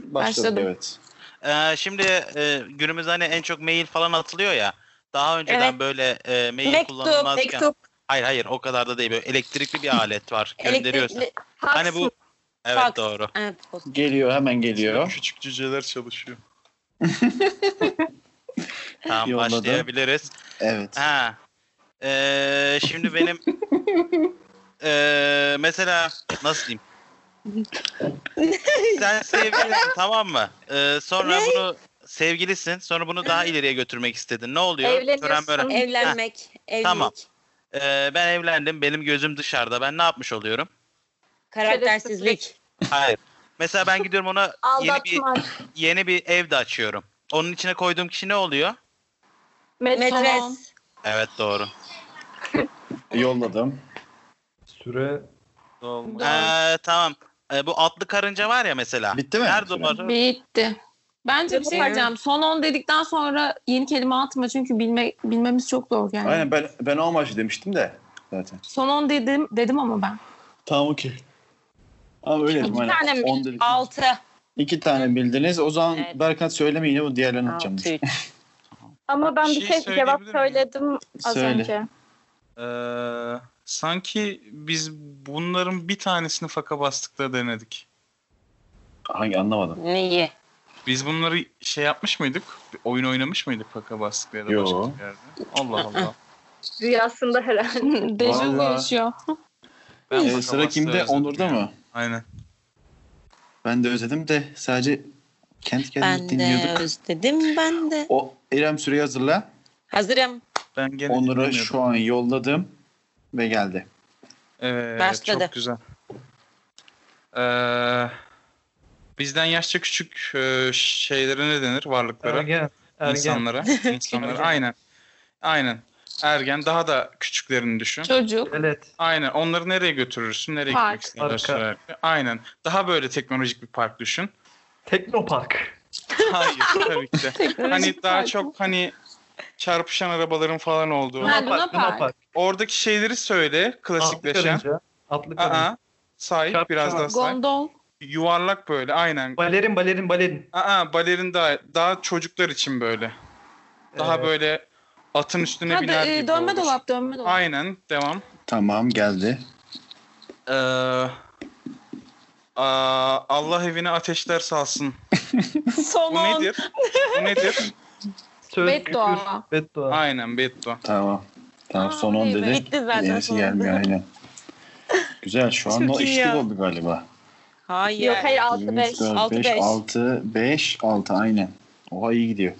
Speaker 7: Başladım.
Speaker 2: evet.
Speaker 5: Ee, şimdi e, günümüzde hani en çok mail falan atılıyor ya. Daha önceden
Speaker 1: Evet.
Speaker 5: böyle e, mail
Speaker 1: Mektup,
Speaker 5: kullanılmazken.
Speaker 1: mektup.
Speaker 5: Hayır hayır o kadar da değil. Böyle elektrikli bir alet var. Gönderiyorsun.
Speaker 1: Elektrikli.
Speaker 5: Hani bu Evet
Speaker 1: Fax.
Speaker 5: doğru.
Speaker 1: Evet. post.
Speaker 2: Geliyor hemen geliyor.
Speaker 4: *laughs* Küçük cüceler çalışıyor.
Speaker 5: Tamam
Speaker 2: Yolladım.
Speaker 5: başlayabiliriz.
Speaker 2: Evet.
Speaker 5: Ha. Ee, şimdi benim
Speaker 1: *laughs*
Speaker 5: Ee, mesela
Speaker 1: *laughs*
Speaker 5: nasıl diyeyim? Sen sevgilisin tamam mı? Ee, sonra
Speaker 1: Ne?
Speaker 5: bunu sevgilisin. Sonra bunu daha ileriye götürmek istedin. Ne oluyor?
Speaker 6: Evleniyorsun.
Speaker 5: Tören mören. Ha,
Speaker 1: Evlenmek. Evlilik.
Speaker 5: Tamam. ee, ben evlendim. Benim gözüm dışarıda. Ben ne yapmış oluyorum?
Speaker 1: Karaktersizlik.
Speaker 5: Hayır. Mesela ben gidiyorum
Speaker 1: *laughs*
Speaker 5: ona yeni bir
Speaker 6: Aldatmak.
Speaker 5: yeni bir ev de açıyorum. Onun içine koyduğum kişi ne oluyor?
Speaker 6: Metres.
Speaker 1: Metres.
Speaker 5: Evet doğru.
Speaker 2: Yolladım.
Speaker 3: Süre
Speaker 5: Ee, tamam. Ee, bu atlı karınca var ya mesela.
Speaker 8: Bitti mi?
Speaker 5: Nerede
Speaker 8: Süren?
Speaker 5: umarım?
Speaker 7: Bitti. Bence bir şey
Speaker 1: Yok.
Speaker 7: diyeceğim. Son 10 dedikten sonra yeni kelime atma çünkü bilme, bilmemiz çok zor yani.
Speaker 2: Aynen ben ben o maçı demiştim de zaten.
Speaker 7: Son 10 dedim dedim ama ben. *laughs*
Speaker 2: Tamam okey. Ama öyle dedim.
Speaker 1: İki
Speaker 2: aynen.
Speaker 1: tane mi?
Speaker 2: On dedik.
Speaker 1: Altı.
Speaker 2: İki tane bildiniz. O zaman
Speaker 1: Evet.
Speaker 2: Berkant söyleme yine bu diğerlerini atacağım.
Speaker 1: Altı. üç.
Speaker 6: Ama ben
Speaker 4: Bir
Speaker 6: bir,
Speaker 4: şey
Speaker 6: şey
Speaker 4: söyleyebilir
Speaker 6: cevap
Speaker 4: miyim?
Speaker 6: söyledim az
Speaker 2: Söyle.
Speaker 6: önce.
Speaker 4: Ee, sanki biz bunların bir tanesini faka bastıkla denedik.
Speaker 2: Hangi anlamadım.
Speaker 1: Neyi?
Speaker 4: Biz bunları şey yapmış mıydık? Bir Oyun oynamış mıydık faka bastıkla ya da
Speaker 2: Yo.
Speaker 4: başka bir yerde? Allah Allah.
Speaker 6: Rüyasında herhalde.
Speaker 7: Dejavu
Speaker 2: Vallahi.
Speaker 7: yaşıyor. *laughs*
Speaker 4: Ben
Speaker 2: Ee,
Speaker 4: faka
Speaker 2: sıra
Speaker 4: bastığı
Speaker 2: kimde?
Speaker 4: özledim
Speaker 2: Onur'da
Speaker 4: ya.
Speaker 2: mı?
Speaker 4: Aynen.
Speaker 8: Ben de özledim de sadece kendi kendimi
Speaker 1: Ben de
Speaker 8: dinliyorduk.
Speaker 1: özledim ben de.
Speaker 2: O İrem süreyi hazırla.
Speaker 1: Hazırım.
Speaker 4: Ben gene
Speaker 2: Onur'a
Speaker 4: dinlemiyordum.
Speaker 2: şu an yolladım ve geldi.
Speaker 4: Evet,
Speaker 1: Başladı.
Speaker 4: çok güzel. Ee, bizden yaşça küçük e, şeylere ne denir? Varlıklara,
Speaker 3: ergen. Ergen.
Speaker 7: *laughs*
Speaker 4: insanlara. insanlara.
Speaker 3: Ergen.
Speaker 4: aynen. Aynen. Ergen daha da küçüklerini düşün.
Speaker 7: Çocuk.
Speaker 3: Evet.
Speaker 4: Aynen. Onları nereye götürürsün? Nereye gitmek
Speaker 7: Park.
Speaker 4: istersin?
Speaker 3: Parka.
Speaker 4: sürekli? Aynen. Daha böyle teknolojik bir park
Speaker 7: *laughs*
Speaker 4: düşün.
Speaker 3: Teknopark.
Speaker 4: Hayır tabii ki de. Hani daha çok hani çarpışan arabaların falan olduğu.
Speaker 7: Ha, Luna Park.
Speaker 4: Oradaki şeyleri söyle
Speaker 3: Atlı
Speaker 4: klasikleşen.
Speaker 3: karınca. Atlı karınca.
Speaker 4: Aa, say
Speaker 3: Çarpışan
Speaker 4: biraz daha say.
Speaker 7: Gondol.
Speaker 4: Yuvarlak böyle aynen.
Speaker 3: Balerin balerin balerin.
Speaker 4: Aa balerin daha, daha çocuklar için böyle. Daha
Speaker 3: Ee,
Speaker 4: böyle atın üstüne
Speaker 7: Ha,
Speaker 4: biner
Speaker 7: dö-
Speaker 4: gibi
Speaker 7: e, dönme
Speaker 4: olur.
Speaker 7: dolap dönme dolap.
Speaker 4: Aynen devam.
Speaker 8: Tamam geldi.
Speaker 4: Ee, aa, Allah evine ateşler salsın.
Speaker 7: *laughs*
Speaker 4: Bu
Speaker 7: Somon.
Speaker 4: nedir? Bu
Speaker 7: *laughs*
Speaker 4: nedir?
Speaker 3: Söz
Speaker 7: Beddua.
Speaker 3: küfür, Beddua.
Speaker 4: Aynen beddua.
Speaker 8: Tamam. Tamam
Speaker 7: Aa,
Speaker 8: son 10
Speaker 7: evet,
Speaker 8: dedi.
Speaker 1: bitti zaten
Speaker 8: Yenisi
Speaker 1: son
Speaker 8: gelmiyor aynen. Güzel şu an
Speaker 1: Çok
Speaker 8: o
Speaker 1: iyi
Speaker 8: eşitlik
Speaker 1: ya.
Speaker 8: oldu galiba.
Speaker 1: Hayır.
Speaker 6: Yok hayır
Speaker 8: 3,
Speaker 6: 6-5.
Speaker 8: 4,
Speaker 1: Altı,
Speaker 8: 5,
Speaker 1: beş.
Speaker 8: 6, 5, 6 aynen. Oha iyi gidiyor.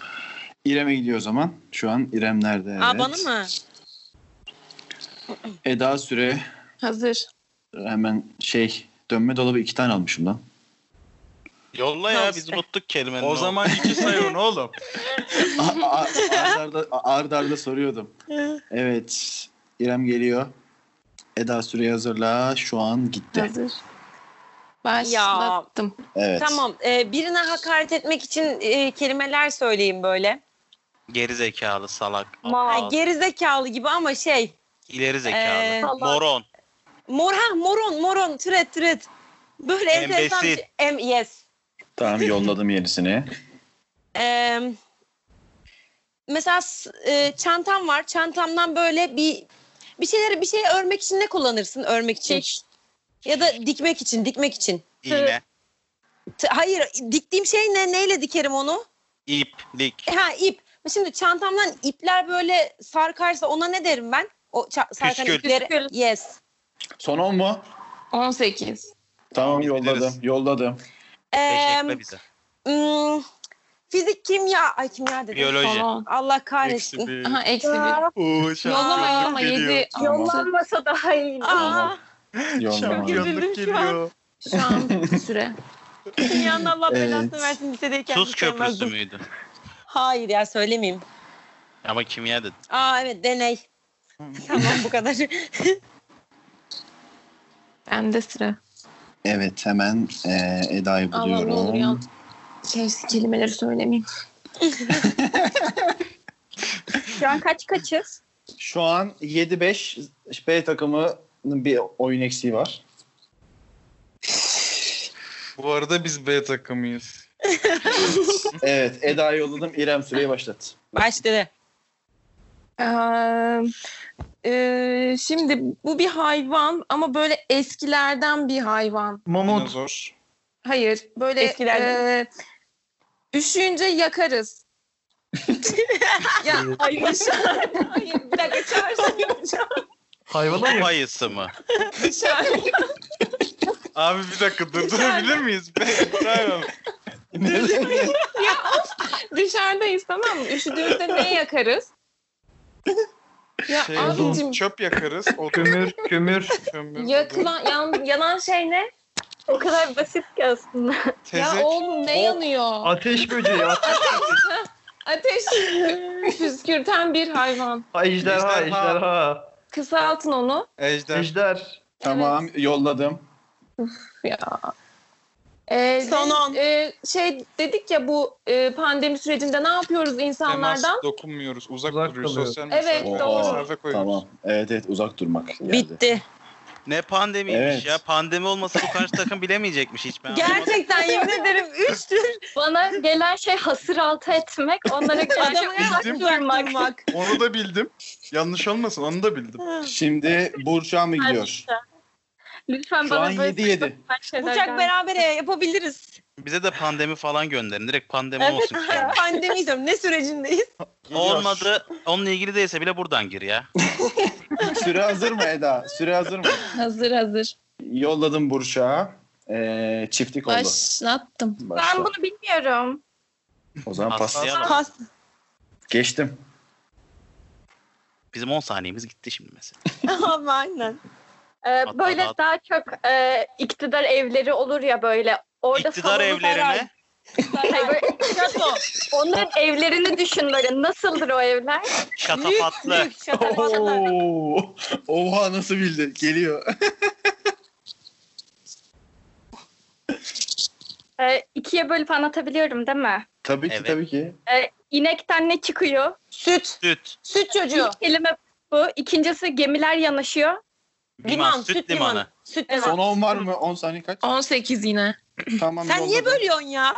Speaker 8: İrem'e gidiyor o zaman. Şu an İrem nerede? Evet.
Speaker 1: Aa, bana mı?
Speaker 8: Eda Süre
Speaker 7: Hazır.
Speaker 8: hemen şey dönme dolabı iki tane almışım lan.
Speaker 5: Yolla ya
Speaker 1: Tamam,
Speaker 5: biz
Speaker 1: süper.
Speaker 5: unuttuk kelimenin.
Speaker 4: O zaman iki *laughs* sayıyorsun oğlum.
Speaker 8: A- a- Arda arda, arda arda soruyordum. Evet. İrem geliyor. Eda Süreyi hazırla. Şu an gitti.
Speaker 7: Hazır. Başlattım.
Speaker 8: Evet.
Speaker 1: Tamam. e, birine hakaret etmek için e, kelimeler söyleyeyim böyle.
Speaker 5: Geri zekalı salak.
Speaker 6: Ma-
Speaker 5: aptal,
Speaker 1: Ha, gerizekalı gibi ama şey.
Speaker 5: ileri zekalı.
Speaker 1: Ee,
Speaker 5: moron.
Speaker 1: Mor ha moron moron türet türet. Böyle enteresan bir
Speaker 5: Embesil.
Speaker 1: şey. Em, yes.
Speaker 8: Tamam yolladım yenisini.
Speaker 1: Ee, mesela s- e, çantam var. Çantamdan böyle bir bir şeyleri bir şey örmek için ne kullanırsın örmek için? Ya da dikmek için, dikmek için.
Speaker 5: İğne.
Speaker 1: T- Hayır, diktiğim şey ne? Neyle dikerim onu?
Speaker 5: İp. Lik.
Speaker 1: E, Ha ip. Şimdi çantamdan ipler böyle sarkarsa ona ne derim ben? O ça- sarkan
Speaker 5: Püskül.
Speaker 1: ipleri.
Speaker 6: Püskül.
Speaker 1: Yes.
Speaker 2: Son 10 mu?
Speaker 7: 18.
Speaker 2: Tamam
Speaker 5: Biz
Speaker 2: yolladım.
Speaker 5: biliriz.
Speaker 2: Yolladım.
Speaker 1: Ee,
Speaker 5: Teşekkürler bize.
Speaker 1: mm, fizik, kimya. Ay kimya dedim.
Speaker 5: Biyoloji.
Speaker 7: Falan.
Speaker 1: Allah
Speaker 4: Eksi
Speaker 1: kahretsin.
Speaker 4: bir.
Speaker 7: Aha eksi bir.
Speaker 6: Aa,
Speaker 7: Yollama yollama
Speaker 4: geliyor.
Speaker 7: 7.
Speaker 6: Yollanmasa daha iyi.
Speaker 1: Aa,
Speaker 8: Yolladım.
Speaker 1: üzüldüm şu
Speaker 4: geliyor.
Speaker 7: Şu an bir süre.
Speaker 1: dünyanın Allah belasını
Speaker 8: Evet.
Speaker 1: versin lisedeyken.
Speaker 5: Tuz
Speaker 1: hiç sevmezdim.
Speaker 5: köprüsü müydü?
Speaker 1: Hayır ya söylemeyeyim.
Speaker 5: Ama kimya dedi.
Speaker 1: Aa evet deney. tamam bu kadar.
Speaker 7: Bende sıra.
Speaker 8: Evet hemen e, Eda'yı
Speaker 7: Allah'ım ne olur ya.
Speaker 8: buluyorum.
Speaker 7: Şey, kelimeleri söylemeyeyim.
Speaker 6: Şu an kaç kaçız?
Speaker 2: Şu an 7-5 B takımının bir oyun eksiği var.
Speaker 4: Bu arada biz B takımıyız.
Speaker 2: Evet Eda'yı yolladım. İrem Süreyi başlat.
Speaker 1: Başladı.
Speaker 7: Eee, eee, şimdi bu bir hayvan ama böyle eskilerden bir hayvan.
Speaker 3: Mamut.
Speaker 4: Dinozor.
Speaker 7: Hayır, böyle
Speaker 1: Eskilerden.
Speaker 7: eee, üşüyünce yakarız. ya ay Başar. Hayır, bir dakika çağırsın yapacağım.
Speaker 3: Hayvana mı?
Speaker 5: Payısı mı?
Speaker 7: Başar.
Speaker 4: Abi bir dakika durdurabilir miyiz? Ben- Tamam.
Speaker 7: Dışarıdayız tamam mı? Üşüdüğümüzde ne yakarız? Ya
Speaker 4: Şey,
Speaker 7: abicim
Speaker 4: çöp yakarız. O
Speaker 3: Kömür, kömür.
Speaker 4: kömür.
Speaker 7: yakılan, yan- yanan şey ne?
Speaker 6: O kadar basit ki aslında.
Speaker 4: Tezek.
Speaker 7: Ya oğlum ne
Speaker 3: Bok.
Speaker 7: yanıyor?
Speaker 3: Ateş böceği, ateş.
Speaker 4: *laughs*
Speaker 7: Ateş püskürten bir hayvan.
Speaker 3: Ejderha,
Speaker 4: Ejderha.
Speaker 3: ejderha.
Speaker 7: Kısaltın onu.
Speaker 4: Ejder.
Speaker 3: Ejder.
Speaker 2: Tamam yolladım.
Speaker 7: Ee,
Speaker 1: Son
Speaker 7: de-
Speaker 1: on.
Speaker 7: e, şey dedik ya bu e, pandemi sürecinde ne yapıyoruz
Speaker 4: Temas,
Speaker 7: insanlardan?
Speaker 4: dokunmuyoruz. Uzak,
Speaker 3: Uzak
Speaker 4: duruyoruz.
Speaker 3: kalıyoruz.
Speaker 4: Sosyal
Speaker 7: Evet,
Speaker 4: mesafe-
Speaker 7: doğru.
Speaker 4: mesafe koyuyoruz.
Speaker 8: Tamam. Evet evet uzak durmak geldi.
Speaker 1: Bitti.
Speaker 5: Ne pandemiymiş
Speaker 8: Evet.
Speaker 5: ya. Pandemi olmasa bu karşı takım bilemeyecekmiş hiç. Ben anlamadım.
Speaker 1: Gerçekten yemin ederim üçtür.
Speaker 6: *laughs* Bana gelen şey hasır altı etmek, onlara şey- karşı
Speaker 1: Adamı
Speaker 6: uzak
Speaker 1: uzak
Speaker 6: durmak.
Speaker 1: durmak.
Speaker 4: Onu da bildim. Yanlış olmasın onu da bildim.
Speaker 8: Şimdi Burç'a mı gidiyor?
Speaker 6: Lütfen
Speaker 8: Şu
Speaker 6: bana
Speaker 8: an
Speaker 6: böyle
Speaker 8: 7-7.
Speaker 6: saçma şeyler
Speaker 1: Uçak
Speaker 6: gelmesin.
Speaker 1: beraber yapabiliriz.
Speaker 5: Bize de pandemi falan gönderin. Direkt pandemi
Speaker 1: Evet.
Speaker 5: olsun.
Speaker 1: Ay, Pandemi diyorum. Ne
Speaker 7: *laughs*
Speaker 1: sürecindeyiz?
Speaker 5: Olmadı. Onunla ilgili değilse bile buradan gir ya.
Speaker 2: *laughs* Süre hazır mı Eda? Süre hazır mı?
Speaker 7: Hazır hazır.
Speaker 2: Yolladım Burç'a. Ee, çiftlik oldu.
Speaker 7: Başlattım.
Speaker 6: Ben
Speaker 8: Başla.
Speaker 6: bunu bilmiyorum.
Speaker 2: O zaman pas.
Speaker 5: Aslı'ya bak.
Speaker 1: Pas.
Speaker 2: Geçtim.
Speaker 5: Bizim 10 saniyemiz gitti şimdi mesela.
Speaker 1: *laughs* Ama aynen.
Speaker 6: Ee,
Speaker 5: Hatta
Speaker 6: böyle
Speaker 5: daha-
Speaker 6: daha çok e, iktidar evleri olur ya böyle. Orada
Speaker 5: İktidar
Speaker 6: salonu
Speaker 5: evlerine
Speaker 6: sarar. Hayır, böyle iktidar
Speaker 7: *laughs*
Speaker 6: da- Onların evlerini düşün böyle. Nasıldır o evler?
Speaker 5: şatafatlı.
Speaker 1: Büyük şatafatlar.
Speaker 2: Oo. Oha nasıl bildi? Geliyor.
Speaker 6: Ee, ikiye bölüp anlatabiliyorum değil mi?
Speaker 2: tabii ki
Speaker 5: Evet.
Speaker 2: tabii ki.
Speaker 6: İnekten ne çıkıyor?
Speaker 1: Süt.
Speaker 5: Süt.
Speaker 1: Süt çocuğu.
Speaker 6: İlk kelime bu. İkincisi gemiler yanaşıyor.
Speaker 5: Liman.
Speaker 1: Liman,
Speaker 5: süt
Speaker 1: süt
Speaker 5: limanı.
Speaker 1: limanı. Süt
Speaker 6: Evet.
Speaker 2: Son 10 var mı? 10 saniye kaç?
Speaker 7: 18 yine.
Speaker 2: Tamam.
Speaker 1: Sen niye
Speaker 2: yolladım.
Speaker 1: bölüyorsun ya?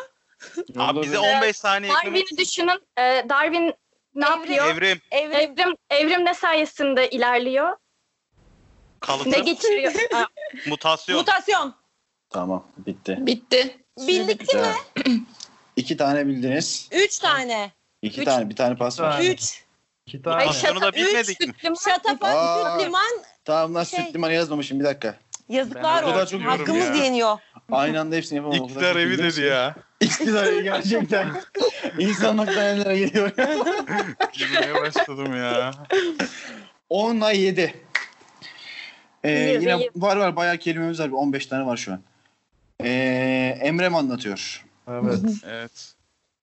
Speaker 5: Abi bize
Speaker 2: Yolladım.
Speaker 5: 15 saniye eklemek
Speaker 6: Darwin'i düşünün. Ee, Darwin ne
Speaker 1: Evrim.
Speaker 6: yapıyor?
Speaker 5: Evrim
Speaker 1: Evrim.
Speaker 6: Evrim, evrim ne sayesinde ilerliyor? Ne
Speaker 5: kalıtı
Speaker 2: *laughs*
Speaker 6: geçiriyor? Aa,
Speaker 5: mutasyon.
Speaker 1: Mutasyon.
Speaker 2: Tamam bitti.
Speaker 7: Bitti.
Speaker 1: Bildik değil mi?
Speaker 2: Güzel. İki tane bildiniz.
Speaker 1: Üç tane.
Speaker 2: İki
Speaker 1: Üç.
Speaker 2: tane. Bir tane pas var.
Speaker 3: Aynen.
Speaker 1: Üç.
Speaker 3: İki tane.
Speaker 5: Mutasyonu da
Speaker 1: şaka- üç
Speaker 5: bilmedik mi?
Speaker 6: Limon-
Speaker 1: Şatafat,
Speaker 2: Aa.
Speaker 1: süt, liman.
Speaker 2: Tamam lan
Speaker 1: Şey.
Speaker 2: süt limanı yazmamışım bir dakika.
Speaker 1: Yazıklar
Speaker 4: Ben o kadar
Speaker 1: olsun.
Speaker 4: çok yiyorum
Speaker 1: Hakkımız
Speaker 4: ya.
Speaker 1: yeniyor.
Speaker 2: Aynı anda hepsini yapamam. O kadar
Speaker 4: İktidar
Speaker 2: çok
Speaker 4: evi
Speaker 2: bilmiyorum
Speaker 4: dedi
Speaker 2: ki.
Speaker 4: ya.
Speaker 2: *laughs* İktidar evi gerçekten. İnsanlıktan ellere geliyor.
Speaker 4: Gülmeye başladım ya.
Speaker 2: 10 ay 7. Ee,
Speaker 6: İyi,
Speaker 2: yine
Speaker 6: iyi.
Speaker 2: var var bayağı kelimemiz var. 15 tane var şu an. Ee, Emre mi anlatıyor?
Speaker 3: Evet.
Speaker 4: Evet.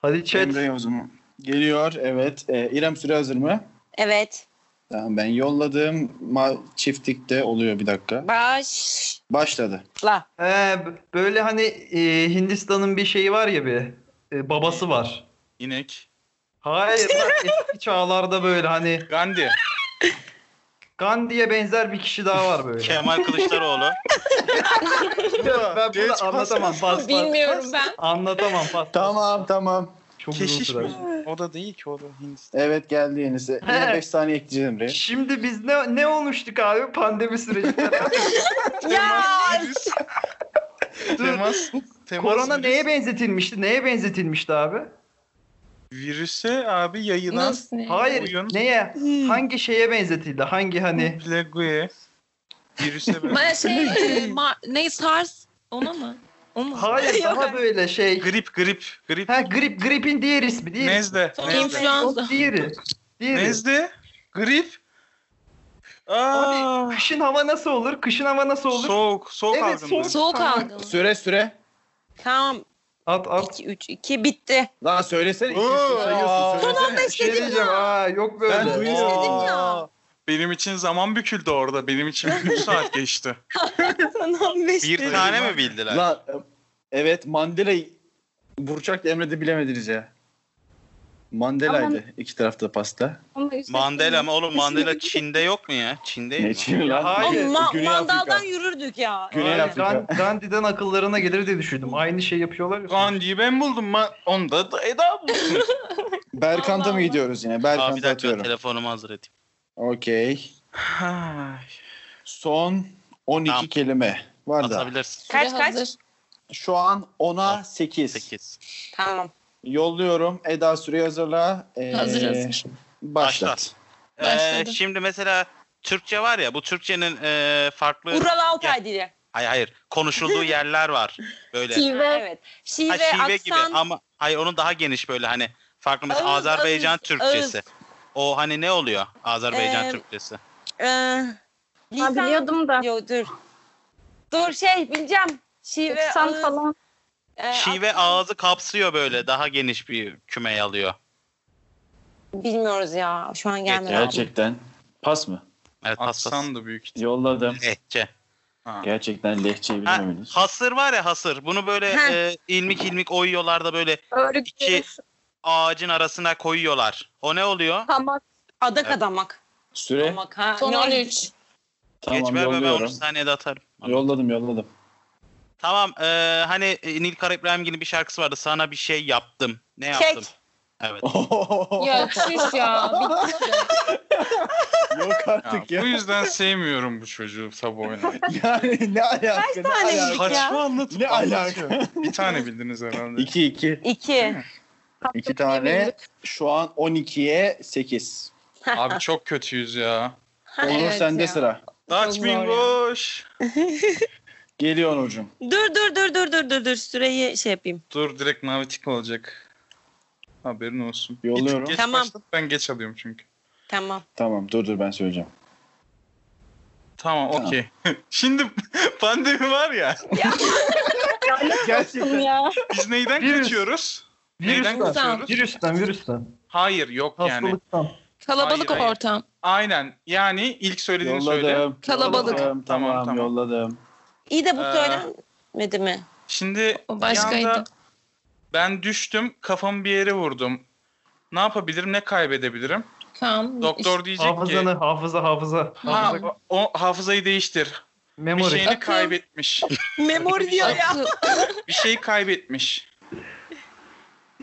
Speaker 3: Hadi chat.
Speaker 2: Emre Yavuz mu? Geliyor evet. Ee, İrem süre hazır mı?
Speaker 1: Evet.
Speaker 2: Tamam ben yolladım. Ma çiftlikte oluyor bir dakika.
Speaker 1: Başla.
Speaker 2: Başladı.
Speaker 3: He, b- böyle hani e, Hindistan'ın bir şeyi var ya bir e, babası var.
Speaker 4: İnek.
Speaker 3: Hayır
Speaker 7: *laughs*
Speaker 3: lan, eski çağlarda böyle hani
Speaker 4: Gandhi.
Speaker 3: Gandhi'ye benzer bir kişi daha var böyle.
Speaker 5: Kemal Kılıçdaroğlu.
Speaker 3: ben
Speaker 4: Geç,
Speaker 3: bunu
Speaker 4: pas,
Speaker 3: anlatamam. Pas, pas,
Speaker 7: Bilmiyorum ben.
Speaker 3: Anlatamam pas.
Speaker 2: Tamam tamam.
Speaker 3: Çok uzun
Speaker 4: Keşiş
Speaker 3: sürer.
Speaker 4: mi? O da değil ki o da Hindistan.
Speaker 2: Evet geldi yenisi. Yine
Speaker 3: He.
Speaker 2: 5 saniye ekleyeceğim Emre.
Speaker 3: Şimdi biz ne ne olmuştuk abi pandemi *laughs* sürecinde?
Speaker 1: Ya.
Speaker 4: Temas. temas
Speaker 3: Korona
Speaker 4: virüs-
Speaker 3: neye benzetilmişti? Neye benzetilmişti abi?
Speaker 4: Virüse abi yayılan
Speaker 7: Nasıl? ne?
Speaker 3: Hayır.
Speaker 4: Oyun.
Speaker 3: Neye? Hangi şeye benzetildi? Hangi hani?
Speaker 4: plague virüse ben...
Speaker 7: Bana şey, e, ma- ne SARS ona mı? O mu?
Speaker 3: Hayır daha böyle şey.
Speaker 4: grip grip grip
Speaker 3: Ha grip gripin diğer ismi değil.
Speaker 4: nezle nezle
Speaker 7: İnfluenza.
Speaker 3: Diğeri. Diğeri.
Speaker 4: nezle grip Aa,
Speaker 3: Kışın hava nasıl olur? Kışın hava nasıl olur?
Speaker 4: soğuk soğuk
Speaker 3: Evet,
Speaker 4: algınlığı.
Speaker 3: soğuk.
Speaker 7: Soğuk algın.
Speaker 2: Süre süre.
Speaker 1: Tamam.
Speaker 3: At at.
Speaker 1: 2, 3, 2 bitti.
Speaker 2: Lan söylesene.
Speaker 4: Oo.
Speaker 2: ikisini sayıyorsun.
Speaker 1: Son
Speaker 2: söylesene.
Speaker 1: anda
Speaker 3: Bir şey
Speaker 1: istedim
Speaker 3: diyeceğim.
Speaker 1: ya.
Speaker 3: Aa, yok böyle.
Speaker 2: Ben duyuyorum.
Speaker 1: Dedim ya.
Speaker 4: Benim için zaman büküldü orada. Benim için 3 saat geçti.
Speaker 1: Sana 15
Speaker 5: Bir
Speaker 1: dedim.
Speaker 5: tane mi bildiler?
Speaker 2: Lan e, evet Mandela Burçak da Emre de bilemediniz ya. Mandela'ydı iki tarafta pasta.
Speaker 6: Onu da üzüldüm.
Speaker 5: Mandela mı? Oğlum Mandela Çin'de yok mu ya? Çin'de
Speaker 2: Ne
Speaker 5: mi?
Speaker 2: için lan?
Speaker 3: Ya
Speaker 1: Ama
Speaker 3: hayır.
Speaker 1: ma-
Speaker 2: Güney
Speaker 1: mandaldan
Speaker 2: Afrika.
Speaker 1: yürürdük ya.
Speaker 2: Güney
Speaker 1: Öyle.
Speaker 2: Afrika.
Speaker 3: Gan- Gandhi'den akıllarına gelir diye düşündüm. Aynı şey yapıyorlar ya.
Speaker 4: Gandhi'yi ben buldum. Ma- Onda da Eda bulsun.
Speaker 2: Berkant'a
Speaker 7: Allah
Speaker 2: mı
Speaker 7: Allah.
Speaker 2: gidiyoruz yine?
Speaker 5: Abi bir
Speaker 2: Berkant'a
Speaker 5: dakika
Speaker 2: atıyorum.
Speaker 5: telefonumu hazır edeyim.
Speaker 2: Okey.
Speaker 4: Ay.
Speaker 2: Son 12
Speaker 5: Tamam.
Speaker 2: kelime. Var da.
Speaker 5: Atabilirsin.
Speaker 1: Kaç,
Speaker 7: Süre
Speaker 1: kaç?
Speaker 7: hazır.
Speaker 2: Şu an 10'a
Speaker 5: Tamam.
Speaker 2: 8.
Speaker 5: 8.
Speaker 1: Tamam.
Speaker 2: Yolluyorum. Eda süreyi hazırla. Ee,
Speaker 7: Hazır hazır.
Speaker 2: Başlat.
Speaker 5: Başlat.
Speaker 7: Başladı.
Speaker 5: Ee, şimdi mesela Türkçe var ya bu Türkçenin e, farklı
Speaker 1: Ural Altay dili.
Speaker 5: hayır hayır
Speaker 1: *laughs*
Speaker 5: konuşulduğu yerler var böyle.
Speaker 1: Ha,
Speaker 6: Şive.
Speaker 1: Evet. Şive,
Speaker 5: Ha, şive gibi
Speaker 1: aksan.
Speaker 5: ama hayır onun daha geniş böyle hani farklı mesela
Speaker 1: Ağız,
Speaker 5: Azerbaycan
Speaker 1: ağız,
Speaker 5: Türkçesi. O hani ne oluyor Azerbaycan
Speaker 1: Ee,
Speaker 5: Türkçesi?
Speaker 1: Ee,
Speaker 6: Ha,
Speaker 1: lisan.
Speaker 6: biliyordum da.
Speaker 1: Yo, dur. Dur şey bileceğim. Şive,
Speaker 6: Sen
Speaker 1: ağız,
Speaker 6: falan.
Speaker 1: e,
Speaker 5: Şive
Speaker 1: aksan.
Speaker 5: ağzı kapsıyor böyle daha geniş bir küme alıyor.
Speaker 1: Bilmiyoruz ya. Şu an gelmedi.
Speaker 2: Gerçekten. Pas mı?
Speaker 5: Evet hassas.
Speaker 4: Aksan da büyük.
Speaker 2: Yolladım.
Speaker 5: Lehçe.
Speaker 4: Ha.
Speaker 2: Gerçekten lehçeyi
Speaker 5: Ha,
Speaker 2: bilemediniz.
Speaker 5: hasır var ya hasır. Bunu böyle
Speaker 1: Heh.
Speaker 5: e, ilmik ilmik oyuyorlar da böyle
Speaker 6: Örgü.
Speaker 5: İki. ağacın arasına koyuyorlar. O ne oluyor?
Speaker 6: Hamak.
Speaker 1: Adak
Speaker 5: Evet. E?
Speaker 1: adamak.
Speaker 2: Süre.
Speaker 1: Adamak ha.
Speaker 7: Son
Speaker 1: Ne-
Speaker 7: 13.
Speaker 5: Geç
Speaker 2: Tamam
Speaker 5: ver ver, ben 10
Speaker 2: yolluyorum.
Speaker 5: saniyede atarım.
Speaker 2: Yolladım yolladım.
Speaker 5: Tamam e, hani e, Nil Kara İbrahimgil'in bir şarkısı vardı. Sana bir şey yaptım. Ne yaptım?
Speaker 1: Kek.
Speaker 5: Evet.
Speaker 7: Ya
Speaker 1: *laughs*
Speaker 7: çüş ya.
Speaker 2: *laughs* Yok
Speaker 4: Ya,
Speaker 2: artık ya.
Speaker 4: bu yüzden sevmiyorum bu çocuğu sabah oynamayı.
Speaker 2: Yani ne alaka? Kaç
Speaker 1: tane bildik
Speaker 4: Kaç
Speaker 1: ya?
Speaker 4: mı anlatıp
Speaker 2: Ne
Speaker 4: anlatıyor?
Speaker 2: *laughs*
Speaker 4: Bir tane bildiniz herhalde.
Speaker 2: 2 2.
Speaker 1: İki.
Speaker 2: İki tane. Şu an 12'ye 8.
Speaker 4: Abi çok kötüyüz ya.
Speaker 2: Onur
Speaker 7: evet
Speaker 2: sende
Speaker 7: ya.
Speaker 2: sıra.
Speaker 4: Dutch
Speaker 7: zor ya.
Speaker 4: Mingoş.
Speaker 2: Geliyor Onurcuğum.
Speaker 1: Dur dur dur dur dur dur dur. Süreyi şey yapayım.
Speaker 4: Dur direkt navitik olacak. Haberin olsun. Bir tık
Speaker 2: Yolluyorum.
Speaker 4: geç
Speaker 1: Tamam.
Speaker 4: başladım, ben geç alıyorum çünkü.
Speaker 1: Tamam.
Speaker 2: Tamam dur dur ben söyleyeceğim.
Speaker 4: Tamam,
Speaker 2: Tamam.
Speaker 4: okey. *laughs* Şimdi pandemi var ya.
Speaker 2: Gerçekten.
Speaker 6: Ya.
Speaker 4: Biz neyden
Speaker 3: Virüs.
Speaker 4: kaçıyoruz? Neyden
Speaker 3: Virüsten.
Speaker 4: kaçıyoruz?
Speaker 3: Virüsten, virüsten.
Speaker 4: Hayır yok yani.
Speaker 3: Hastalıktan.
Speaker 7: Kalabalık
Speaker 4: Hayır, hayır.
Speaker 7: ortam.
Speaker 4: Aynen. Yani ilk söylediğini söyle.
Speaker 2: Yolladım.
Speaker 7: Kalabalık.
Speaker 2: Tamam,
Speaker 4: Tamam,
Speaker 2: tamam,
Speaker 4: tamam.
Speaker 2: yolladım.
Speaker 1: İyi de bu
Speaker 4: Ee,
Speaker 1: söylenmedi mi?
Speaker 4: Şimdi
Speaker 7: O
Speaker 4: bir
Speaker 7: başkaydı.
Speaker 4: anda ben düştüm kafamı bir yere vurdum. Ne yapabilirim ne kaybedebilirim?
Speaker 7: Tamam.
Speaker 4: Doktor diyecek ki şey-
Speaker 3: Hafızanı, hafıza, hafıza.
Speaker 4: ha, o, o hafızayı değiştir. Bir
Speaker 3: Memory.
Speaker 4: şeyini kaybetmiş.
Speaker 1: Memori diyor
Speaker 7: şey *laughs*
Speaker 1: ya.
Speaker 4: Bir şeyi kaybetmiş.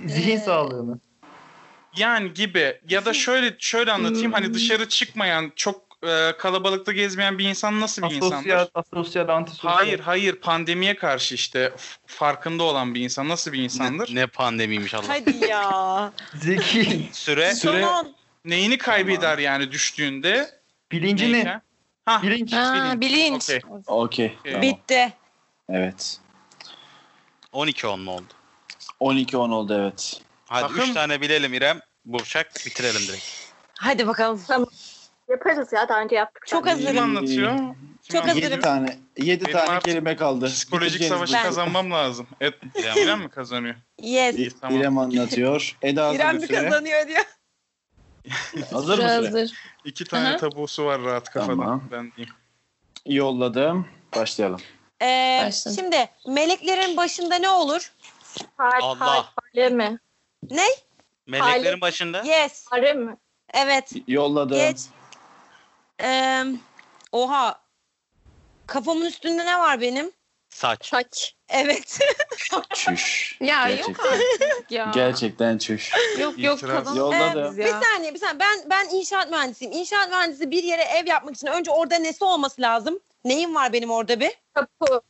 Speaker 3: Zihin sağlığını.
Speaker 4: Yani gibi ya da şöyle şöyle anlatayım hani dışarı çıkmayan çok e, kalabalıkta gezmeyen bir insan nasıl bir insandır?
Speaker 3: Asosyal, asosyal, antisosyal.
Speaker 4: Hayır hayır pandemiye karşı işte f- farkında olan bir insan nasıl bir insandır?
Speaker 5: Ne, ne pandemiymiş Allah.
Speaker 1: Hadi ya.
Speaker 4: *laughs*
Speaker 3: Zeki.
Speaker 5: Süre
Speaker 2: Süre
Speaker 1: Tamam.
Speaker 4: Neyini kaybeder yani düştüğünde?
Speaker 3: Bilincini.
Speaker 4: Neyken? Ha,
Speaker 3: Bilinç.
Speaker 7: Ha, bilinç.
Speaker 4: Okey.
Speaker 2: okey.
Speaker 4: Tamam.
Speaker 1: Bitti.
Speaker 2: Evet.
Speaker 5: 12 10 oldu.
Speaker 2: 12-10 oldu evet.
Speaker 5: Hadi 3
Speaker 4: Takım-
Speaker 5: tane bilelim İrem. Burçak bitirelim direkt.
Speaker 1: Hadi bakalım.
Speaker 6: Yaparız ya daha önce yaptık.
Speaker 1: Çok
Speaker 6: zaten.
Speaker 1: hazırım.
Speaker 4: Kim anlatıyor? Kim
Speaker 1: Çok hazırım.
Speaker 2: 7 tane 7
Speaker 4: Benim
Speaker 2: tane
Speaker 4: artık
Speaker 2: kelime kaldı.
Speaker 4: Psikolojik
Speaker 2: Bitireceğiniz
Speaker 4: savaşı
Speaker 1: Ben-
Speaker 4: kazanmam lazım. Evet,
Speaker 5: İrem.
Speaker 4: İrem mi kazanıyor?
Speaker 1: Yes.
Speaker 2: İ-
Speaker 4: Tamam.
Speaker 2: İrem anlatıyor. Eda hazır
Speaker 1: İrem
Speaker 2: mı
Speaker 1: mi
Speaker 2: süre?
Speaker 1: kazanıyor diyor.
Speaker 2: Hazır mı
Speaker 7: Sıra
Speaker 2: süre?
Speaker 7: hazır.
Speaker 4: İki tane
Speaker 7: Aha.
Speaker 4: tabusu var rahat kafadan.
Speaker 2: Tamam.
Speaker 4: Ben diyeyim.
Speaker 2: Yolladım. Başlayalım.
Speaker 1: Ee,
Speaker 7: Başla.
Speaker 1: şimdi meleklerin başında ne olur?
Speaker 6: Fare,
Speaker 5: Allah.
Speaker 6: fare, fare mi?
Speaker 5: Meleklerin başında.
Speaker 1: Yes.
Speaker 6: Fare mi?
Speaker 1: Evet.
Speaker 2: Yolladım.
Speaker 1: Geç. Ee, oha. Kafamın üstünde ne var benim?
Speaker 5: Saç.
Speaker 6: Saç.
Speaker 1: Evet.
Speaker 2: Çüş.
Speaker 7: Ya yok
Speaker 2: Gerçekten.
Speaker 7: ya.
Speaker 2: Gerçekten çüş.
Speaker 7: Yok yok
Speaker 4: İtiraz.
Speaker 2: Yolladı.
Speaker 1: *laughs*
Speaker 7: kazanamıyoruz ya.
Speaker 1: Bir saniye bir saniye. Ben, ben inşaat mühendisiyim. İnşaat mühendisi bir yere ev yapmak için önce orada nesi olması lazım? Neyim var benim orada bir?
Speaker 6: Kapı.
Speaker 5: Tapu.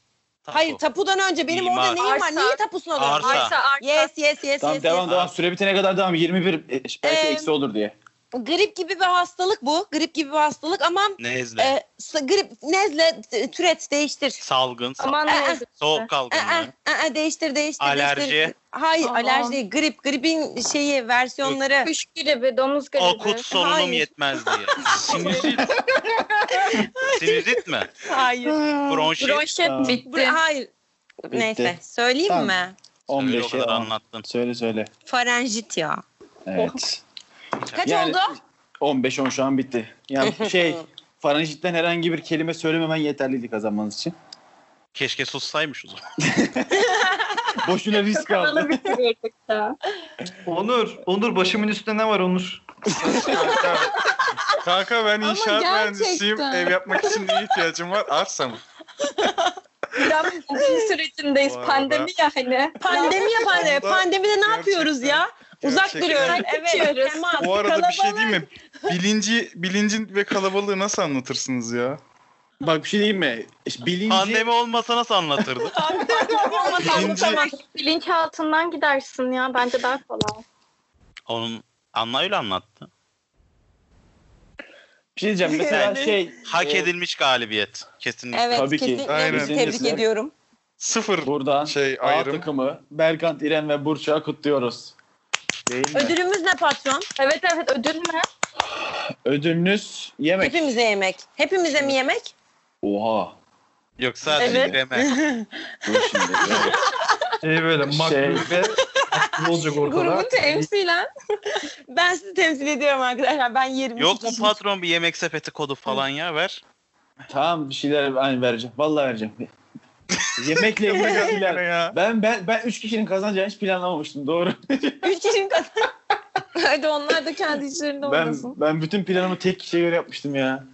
Speaker 1: Hayır tapudan önce benim
Speaker 5: Mimar.
Speaker 1: orada neyim var?
Speaker 6: Arsa.
Speaker 1: Neyi tapusuna doğru?
Speaker 5: Arsa.
Speaker 6: Arsa, arsa.
Speaker 1: Yes yes yes
Speaker 2: Tamam
Speaker 1: yes.
Speaker 2: devam
Speaker 1: yes.
Speaker 2: devam. Süre bitene kadar devam. 21 e, belki
Speaker 1: Ee,
Speaker 2: eksi olur diye.
Speaker 1: Grip gibi bir hastalık bu. Grip gibi bir hastalık ama
Speaker 5: Nezle.
Speaker 1: e, s- grip nezle t- türet değiştir.
Speaker 5: salgın. Sal-
Speaker 6: Aman
Speaker 1: Ee,
Speaker 6: ne yazık.
Speaker 5: soğuk
Speaker 1: Ee, ee,
Speaker 5: algınlığı.
Speaker 1: ee, ee, değiştir değiştir.
Speaker 5: Alerji.
Speaker 1: değiştir. Hayır
Speaker 6: Aman.
Speaker 1: alerji değil. Grip. Gripin şeyi versiyonları.
Speaker 6: Kuş gribi, domuz gribi.
Speaker 5: Akut solunum
Speaker 1: e, Hayır.
Speaker 5: yetmez diye. Sinüzit. *laughs* Sinüzit mi?
Speaker 1: *laughs* Hayır.
Speaker 5: Bronşit.
Speaker 6: Bronşet.
Speaker 2: Tamam.
Speaker 7: Bitti.
Speaker 1: Bur- hayır.
Speaker 2: Bitti.
Speaker 1: Neyse söyleyeyim
Speaker 2: Tamam.
Speaker 1: mi?
Speaker 5: Öyle o
Speaker 2: 15'e
Speaker 5: kadar
Speaker 2: al.
Speaker 5: anlattın.
Speaker 2: Söyle söyle.
Speaker 1: Farenjit ya.
Speaker 2: Evet.
Speaker 1: Kaç
Speaker 2: Yani-
Speaker 1: oldu?
Speaker 2: 15-10 şu an bitti.
Speaker 7: *laughs*
Speaker 2: Yani şey faranjitten herhangi bir kelime söylememen yeterliydi kazanmanız için.
Speaker 5: Keşke sussaymış o zaman.
Speaker 2: Boşuna risk aldı.
Speaker 6: Kanalı bitirirdik ya.
Speaker 3: Onur. Onur başımın üstünde ne var Onur?
Speaker 4: Kanka ben
Speaker 7: Ama
Speaker 4: inşaat mühendisiyim.
Speaker 7: gerçekten.
Speaker 4: Ev yapmak için neye ihtiyacım var? Arsa mı?
Speaker 2: *laughs*
Speaker 6: Tam pandemi sürecindeyiz.
Speaker 4: Bu arada-
Speaker 6: Pandemi ya hani.
Speaker 1: Pandemi ya pandemi.
Speaker 4: Gerçekten-
Speaker 1: Pandemide ne yapıyoruz ya? Uzak
Speaker 4: Gerçekten-
Speaker 1: duruyoruz. Evet.
Speaker 6: Kaçıyoruz.
Speaker 1: Temas,
Speaker 4: Bu arada bir şey
Speaker 1: kalabalık.
Speaker 4: diyeyim mi? Bilinci, bilincin ve kalabalığı nasıl anlatırsınız ya?
Speaker 2: Bak bir şey diyeyim mi? İşte Bilinci
Speaker 5: Pandemi olmasa nasıl anlatırdı?
Speaker 4: Bilinci,
Speaker 6: Bilinç altından gidersin ya. Bence daha kolay.
Speaker 5: Onun Anna öyle anlattı.
Speaker 2: bir şey diyeceğim. Mesela
Speaker 1: Yani-
Speaker 2: şey
Speaker 5: Hak
Speaker 2: e,
Speaker 5: edilmiş galibiyet. Kesinlikle.
Speaker 1: Evet,
Speaker 2: Tabii ki.
Speaker 1: kesinlikle
Speaker 4: Aynen.
Speaker 1: biz tebrik
Speaker 2: Kesinlikle.
Speaker 1: ediyorum.
Speaker 4: sıfır
Speaker 2: buradan
Speaker 4: şey
Speaker 2: A
Speaker 4: ayrım.
Speaker 2: takımı Berkant, İrem ve Burçak'ı kutluyoruz. Değil mi?
Speaker 1: Ödülümüz ne patron?
Speaker 6: Evet evet ödül mü?
Speaker 2: Ödülünüz yemek.
Speaker 1: Hepimize yemek. Hepimize mi yemek?
Speaker 2: Oha.
Speaker 5: Yoksa
Speaker 2: Evet.
Speaker 5: dinleme.
Speaker 2: Dur şimdi. Evet.
Speaker 3: Şey böyle
Speaker 2: Şey.
Speaker 3: makbul ve ne olacak ortada?
Speaker 7: Grubu temsilen.
Speaker 1: Ben sizi temsil ediyorum arkadaşlar. Ben 20
Speaker 5: Yok mu patron bir yemek sepeti kodu falan ya ver.
Speaker 2: tamam bir şeyler ben vereceğim. Vallahi vereceğim. Yemekle ilgili
Speaker 6: *laughs*
Speaker 2: bir şeyler.
Speaker 4: ya.
Speaker 2: Ben ben ben 3 kişinin kazanacağını hiç planlamamıştım doğru.
Speaker 1: 3 kişinin kazandı.
Speaker 7: *laughs* Hadi onlar da kendi içlerinde
Speaker 2: ben
Speaker 7: oynasın.
Speaker 2: ben bütün planımı tek kişiye göre yapmıştım ya.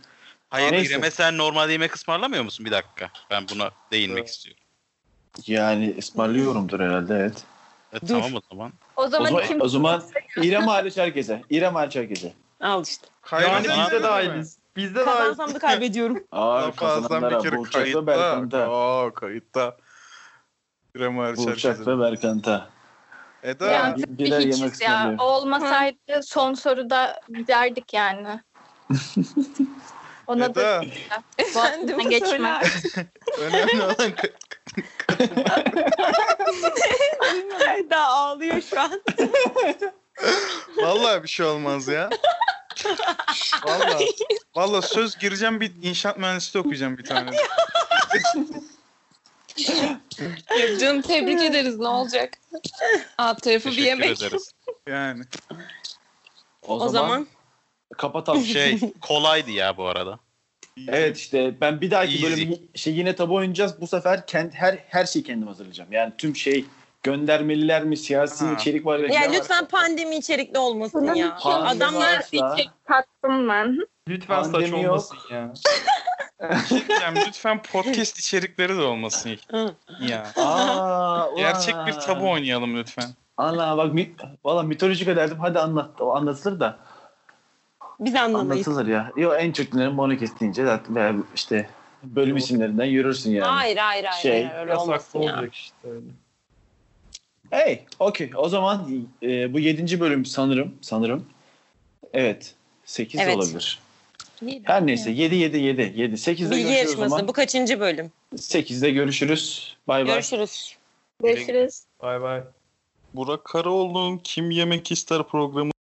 Speaker 5: Hayır
Speaker 2: Neyse.
Speaker 5: İrem'e sen normalde yemek ısmarlamıyor musun? Bir dakika. Ben buna değinmek
Speaker 4: Evet.
Speaker 5: istiyorum.
Speaker 2: Yani ısmarlıyorumdur herhalde evet.
Speaker 5: E,
Speaker 1: Dur.
Speaker 5: tamam o zaman.
Speaker 6: O
Speaker 2: O
Speaker 6: zaman,
Speaker 2: zaman,
Speaker 6: kim?
Speaker 2: o zaman İrem hariç herkese. İrem hariç herkese.
Speaker 1: Al işte.
Speaker 3: Yani
Speaker 5: Kaybeden
Speaker 3: biz de dahiliz. Biz de dahiliz.
Speaker 1: Kazansam da kaybediyorum.
Speaker 2: Aa,
Speaker 4: Kazananlara
Speaker 2: kazananlara
Speaker 4: bir kere
Speaker 2: Burçak ve
Speaker 4: kayıtta.
Speaker 2: Berkant'a.
Speaker 4: Aa kayıtta. İrem Arşar.
Speaker 2: Burçak ve Berkant'a.
Speaker 4: Eda.
Speaker 6: Ya,
Speaker 2: Bir-
Speaker 6: Bir
Speaker 2: Birer yemek
Speaker 6: hiçiz ya.
Speaker 2: ısmarlıyor.
Speaker 6: O olmasaydı son soruda giderdik yani. Ona da
Speaker 4: Eda.
Speaker 7: Efendim
Speaker 6: geçme.
Speaker 7: söyler.
Speaker 4: Önemli olan
Speaker 1: Daha ağlıyor şu an.
Speaker 4: Vallahi bir şey olmaz ya. Vallahi. Vallahi söz gireceğim bir inşaat mühendisliği okuyacağım bir tane.
Speaker 7: Yok canım tebrik ederiz ne olacak. Alt tarafı bir
Speaker 5: Teşekkür
Speaker 7: yemek.
Speaker 5: ederiz.
Speaker 4: Yani.
Speaker 2: O,
Speaker 1: O zaman *laughs*
Speaker 2: kapatalım.
Speaker 5: Şey kolaydı ya bu arada.
Speaker 2: Evet işte ben bir dahaki
Speaker 5: Easy.
Speaker 2: bölüm şey yine tabu oynayacağız. Bu sefer kend, her her şeyi kendim hazırlayacağım. Yani tüm şey göndermeliler mi siyasi
Speaker 4: Ha.
Speaker 2: içerik var.
Speaker 1: ya
Speaker 2: reklam var.
Speaker 1: lütfen pandemi içerikli olmasın ya.
Speaker 2: Pandemi
Speaker 1: Adamlar şey-
Speaker 2: varsa-
Speaker 6: tattım ben.
Speaker 3: Lütfen saç
Speaker 2: Pandemi yok.
Speaker 3: olmasın ya.
Speaker 4: Yani lütfen podcast içerikleri de olmasın. ya.
Speaker 1: *laughs*
Speaker 2: Aa,
Speaker 4: Gerçek
Speaker 2: ulan.
Speaker 4: bir tabu oynayalım lütfen.
Speaker 2: Allah bak mi, valla mitolojik ederdim. Hadi anlat, o anlatılır da.
Speaker 1: Biz anlamayız.
Speaker 2: Anlatılır ya. Yo en çok dinlerim Monokes deyince zaten veya işte bölüm isimlerinden yürürsün yani.
Speaker 1: Hayır hayır hayır.
Speaker 2: Şey,
Speaker 1: hayır, öyle
Speaker 3: Yasaklı
Speaker 1: olmasın ya.
Speaker 3: olacak işte öyle.
Speaker 2: Hey, okey. O zaman e, bu yedinci bölüm sanırım, sanırım. Evet, sekiz
Speaker 1: Evet.
Speaker 2: olabilir. Her neyse, yedi, yedi, yedi, yedi. Sekizde
Speaker 1: Bilgi
Speaker 2: görüşürüz o
Speaker 1: yarışması
Speaker 2: zaman.
Speaker 1: bu kaçıncı bölüm?
Speaker 2: Sekizde görüşürüz. Bay bay.
Speaker 1: Görüşürüz.
Speaker 6: Görüşürüz.
Speaker 3: Bay bay.
Speaker 4: Burak Karaoğlu'nun Kim Yemek İster programı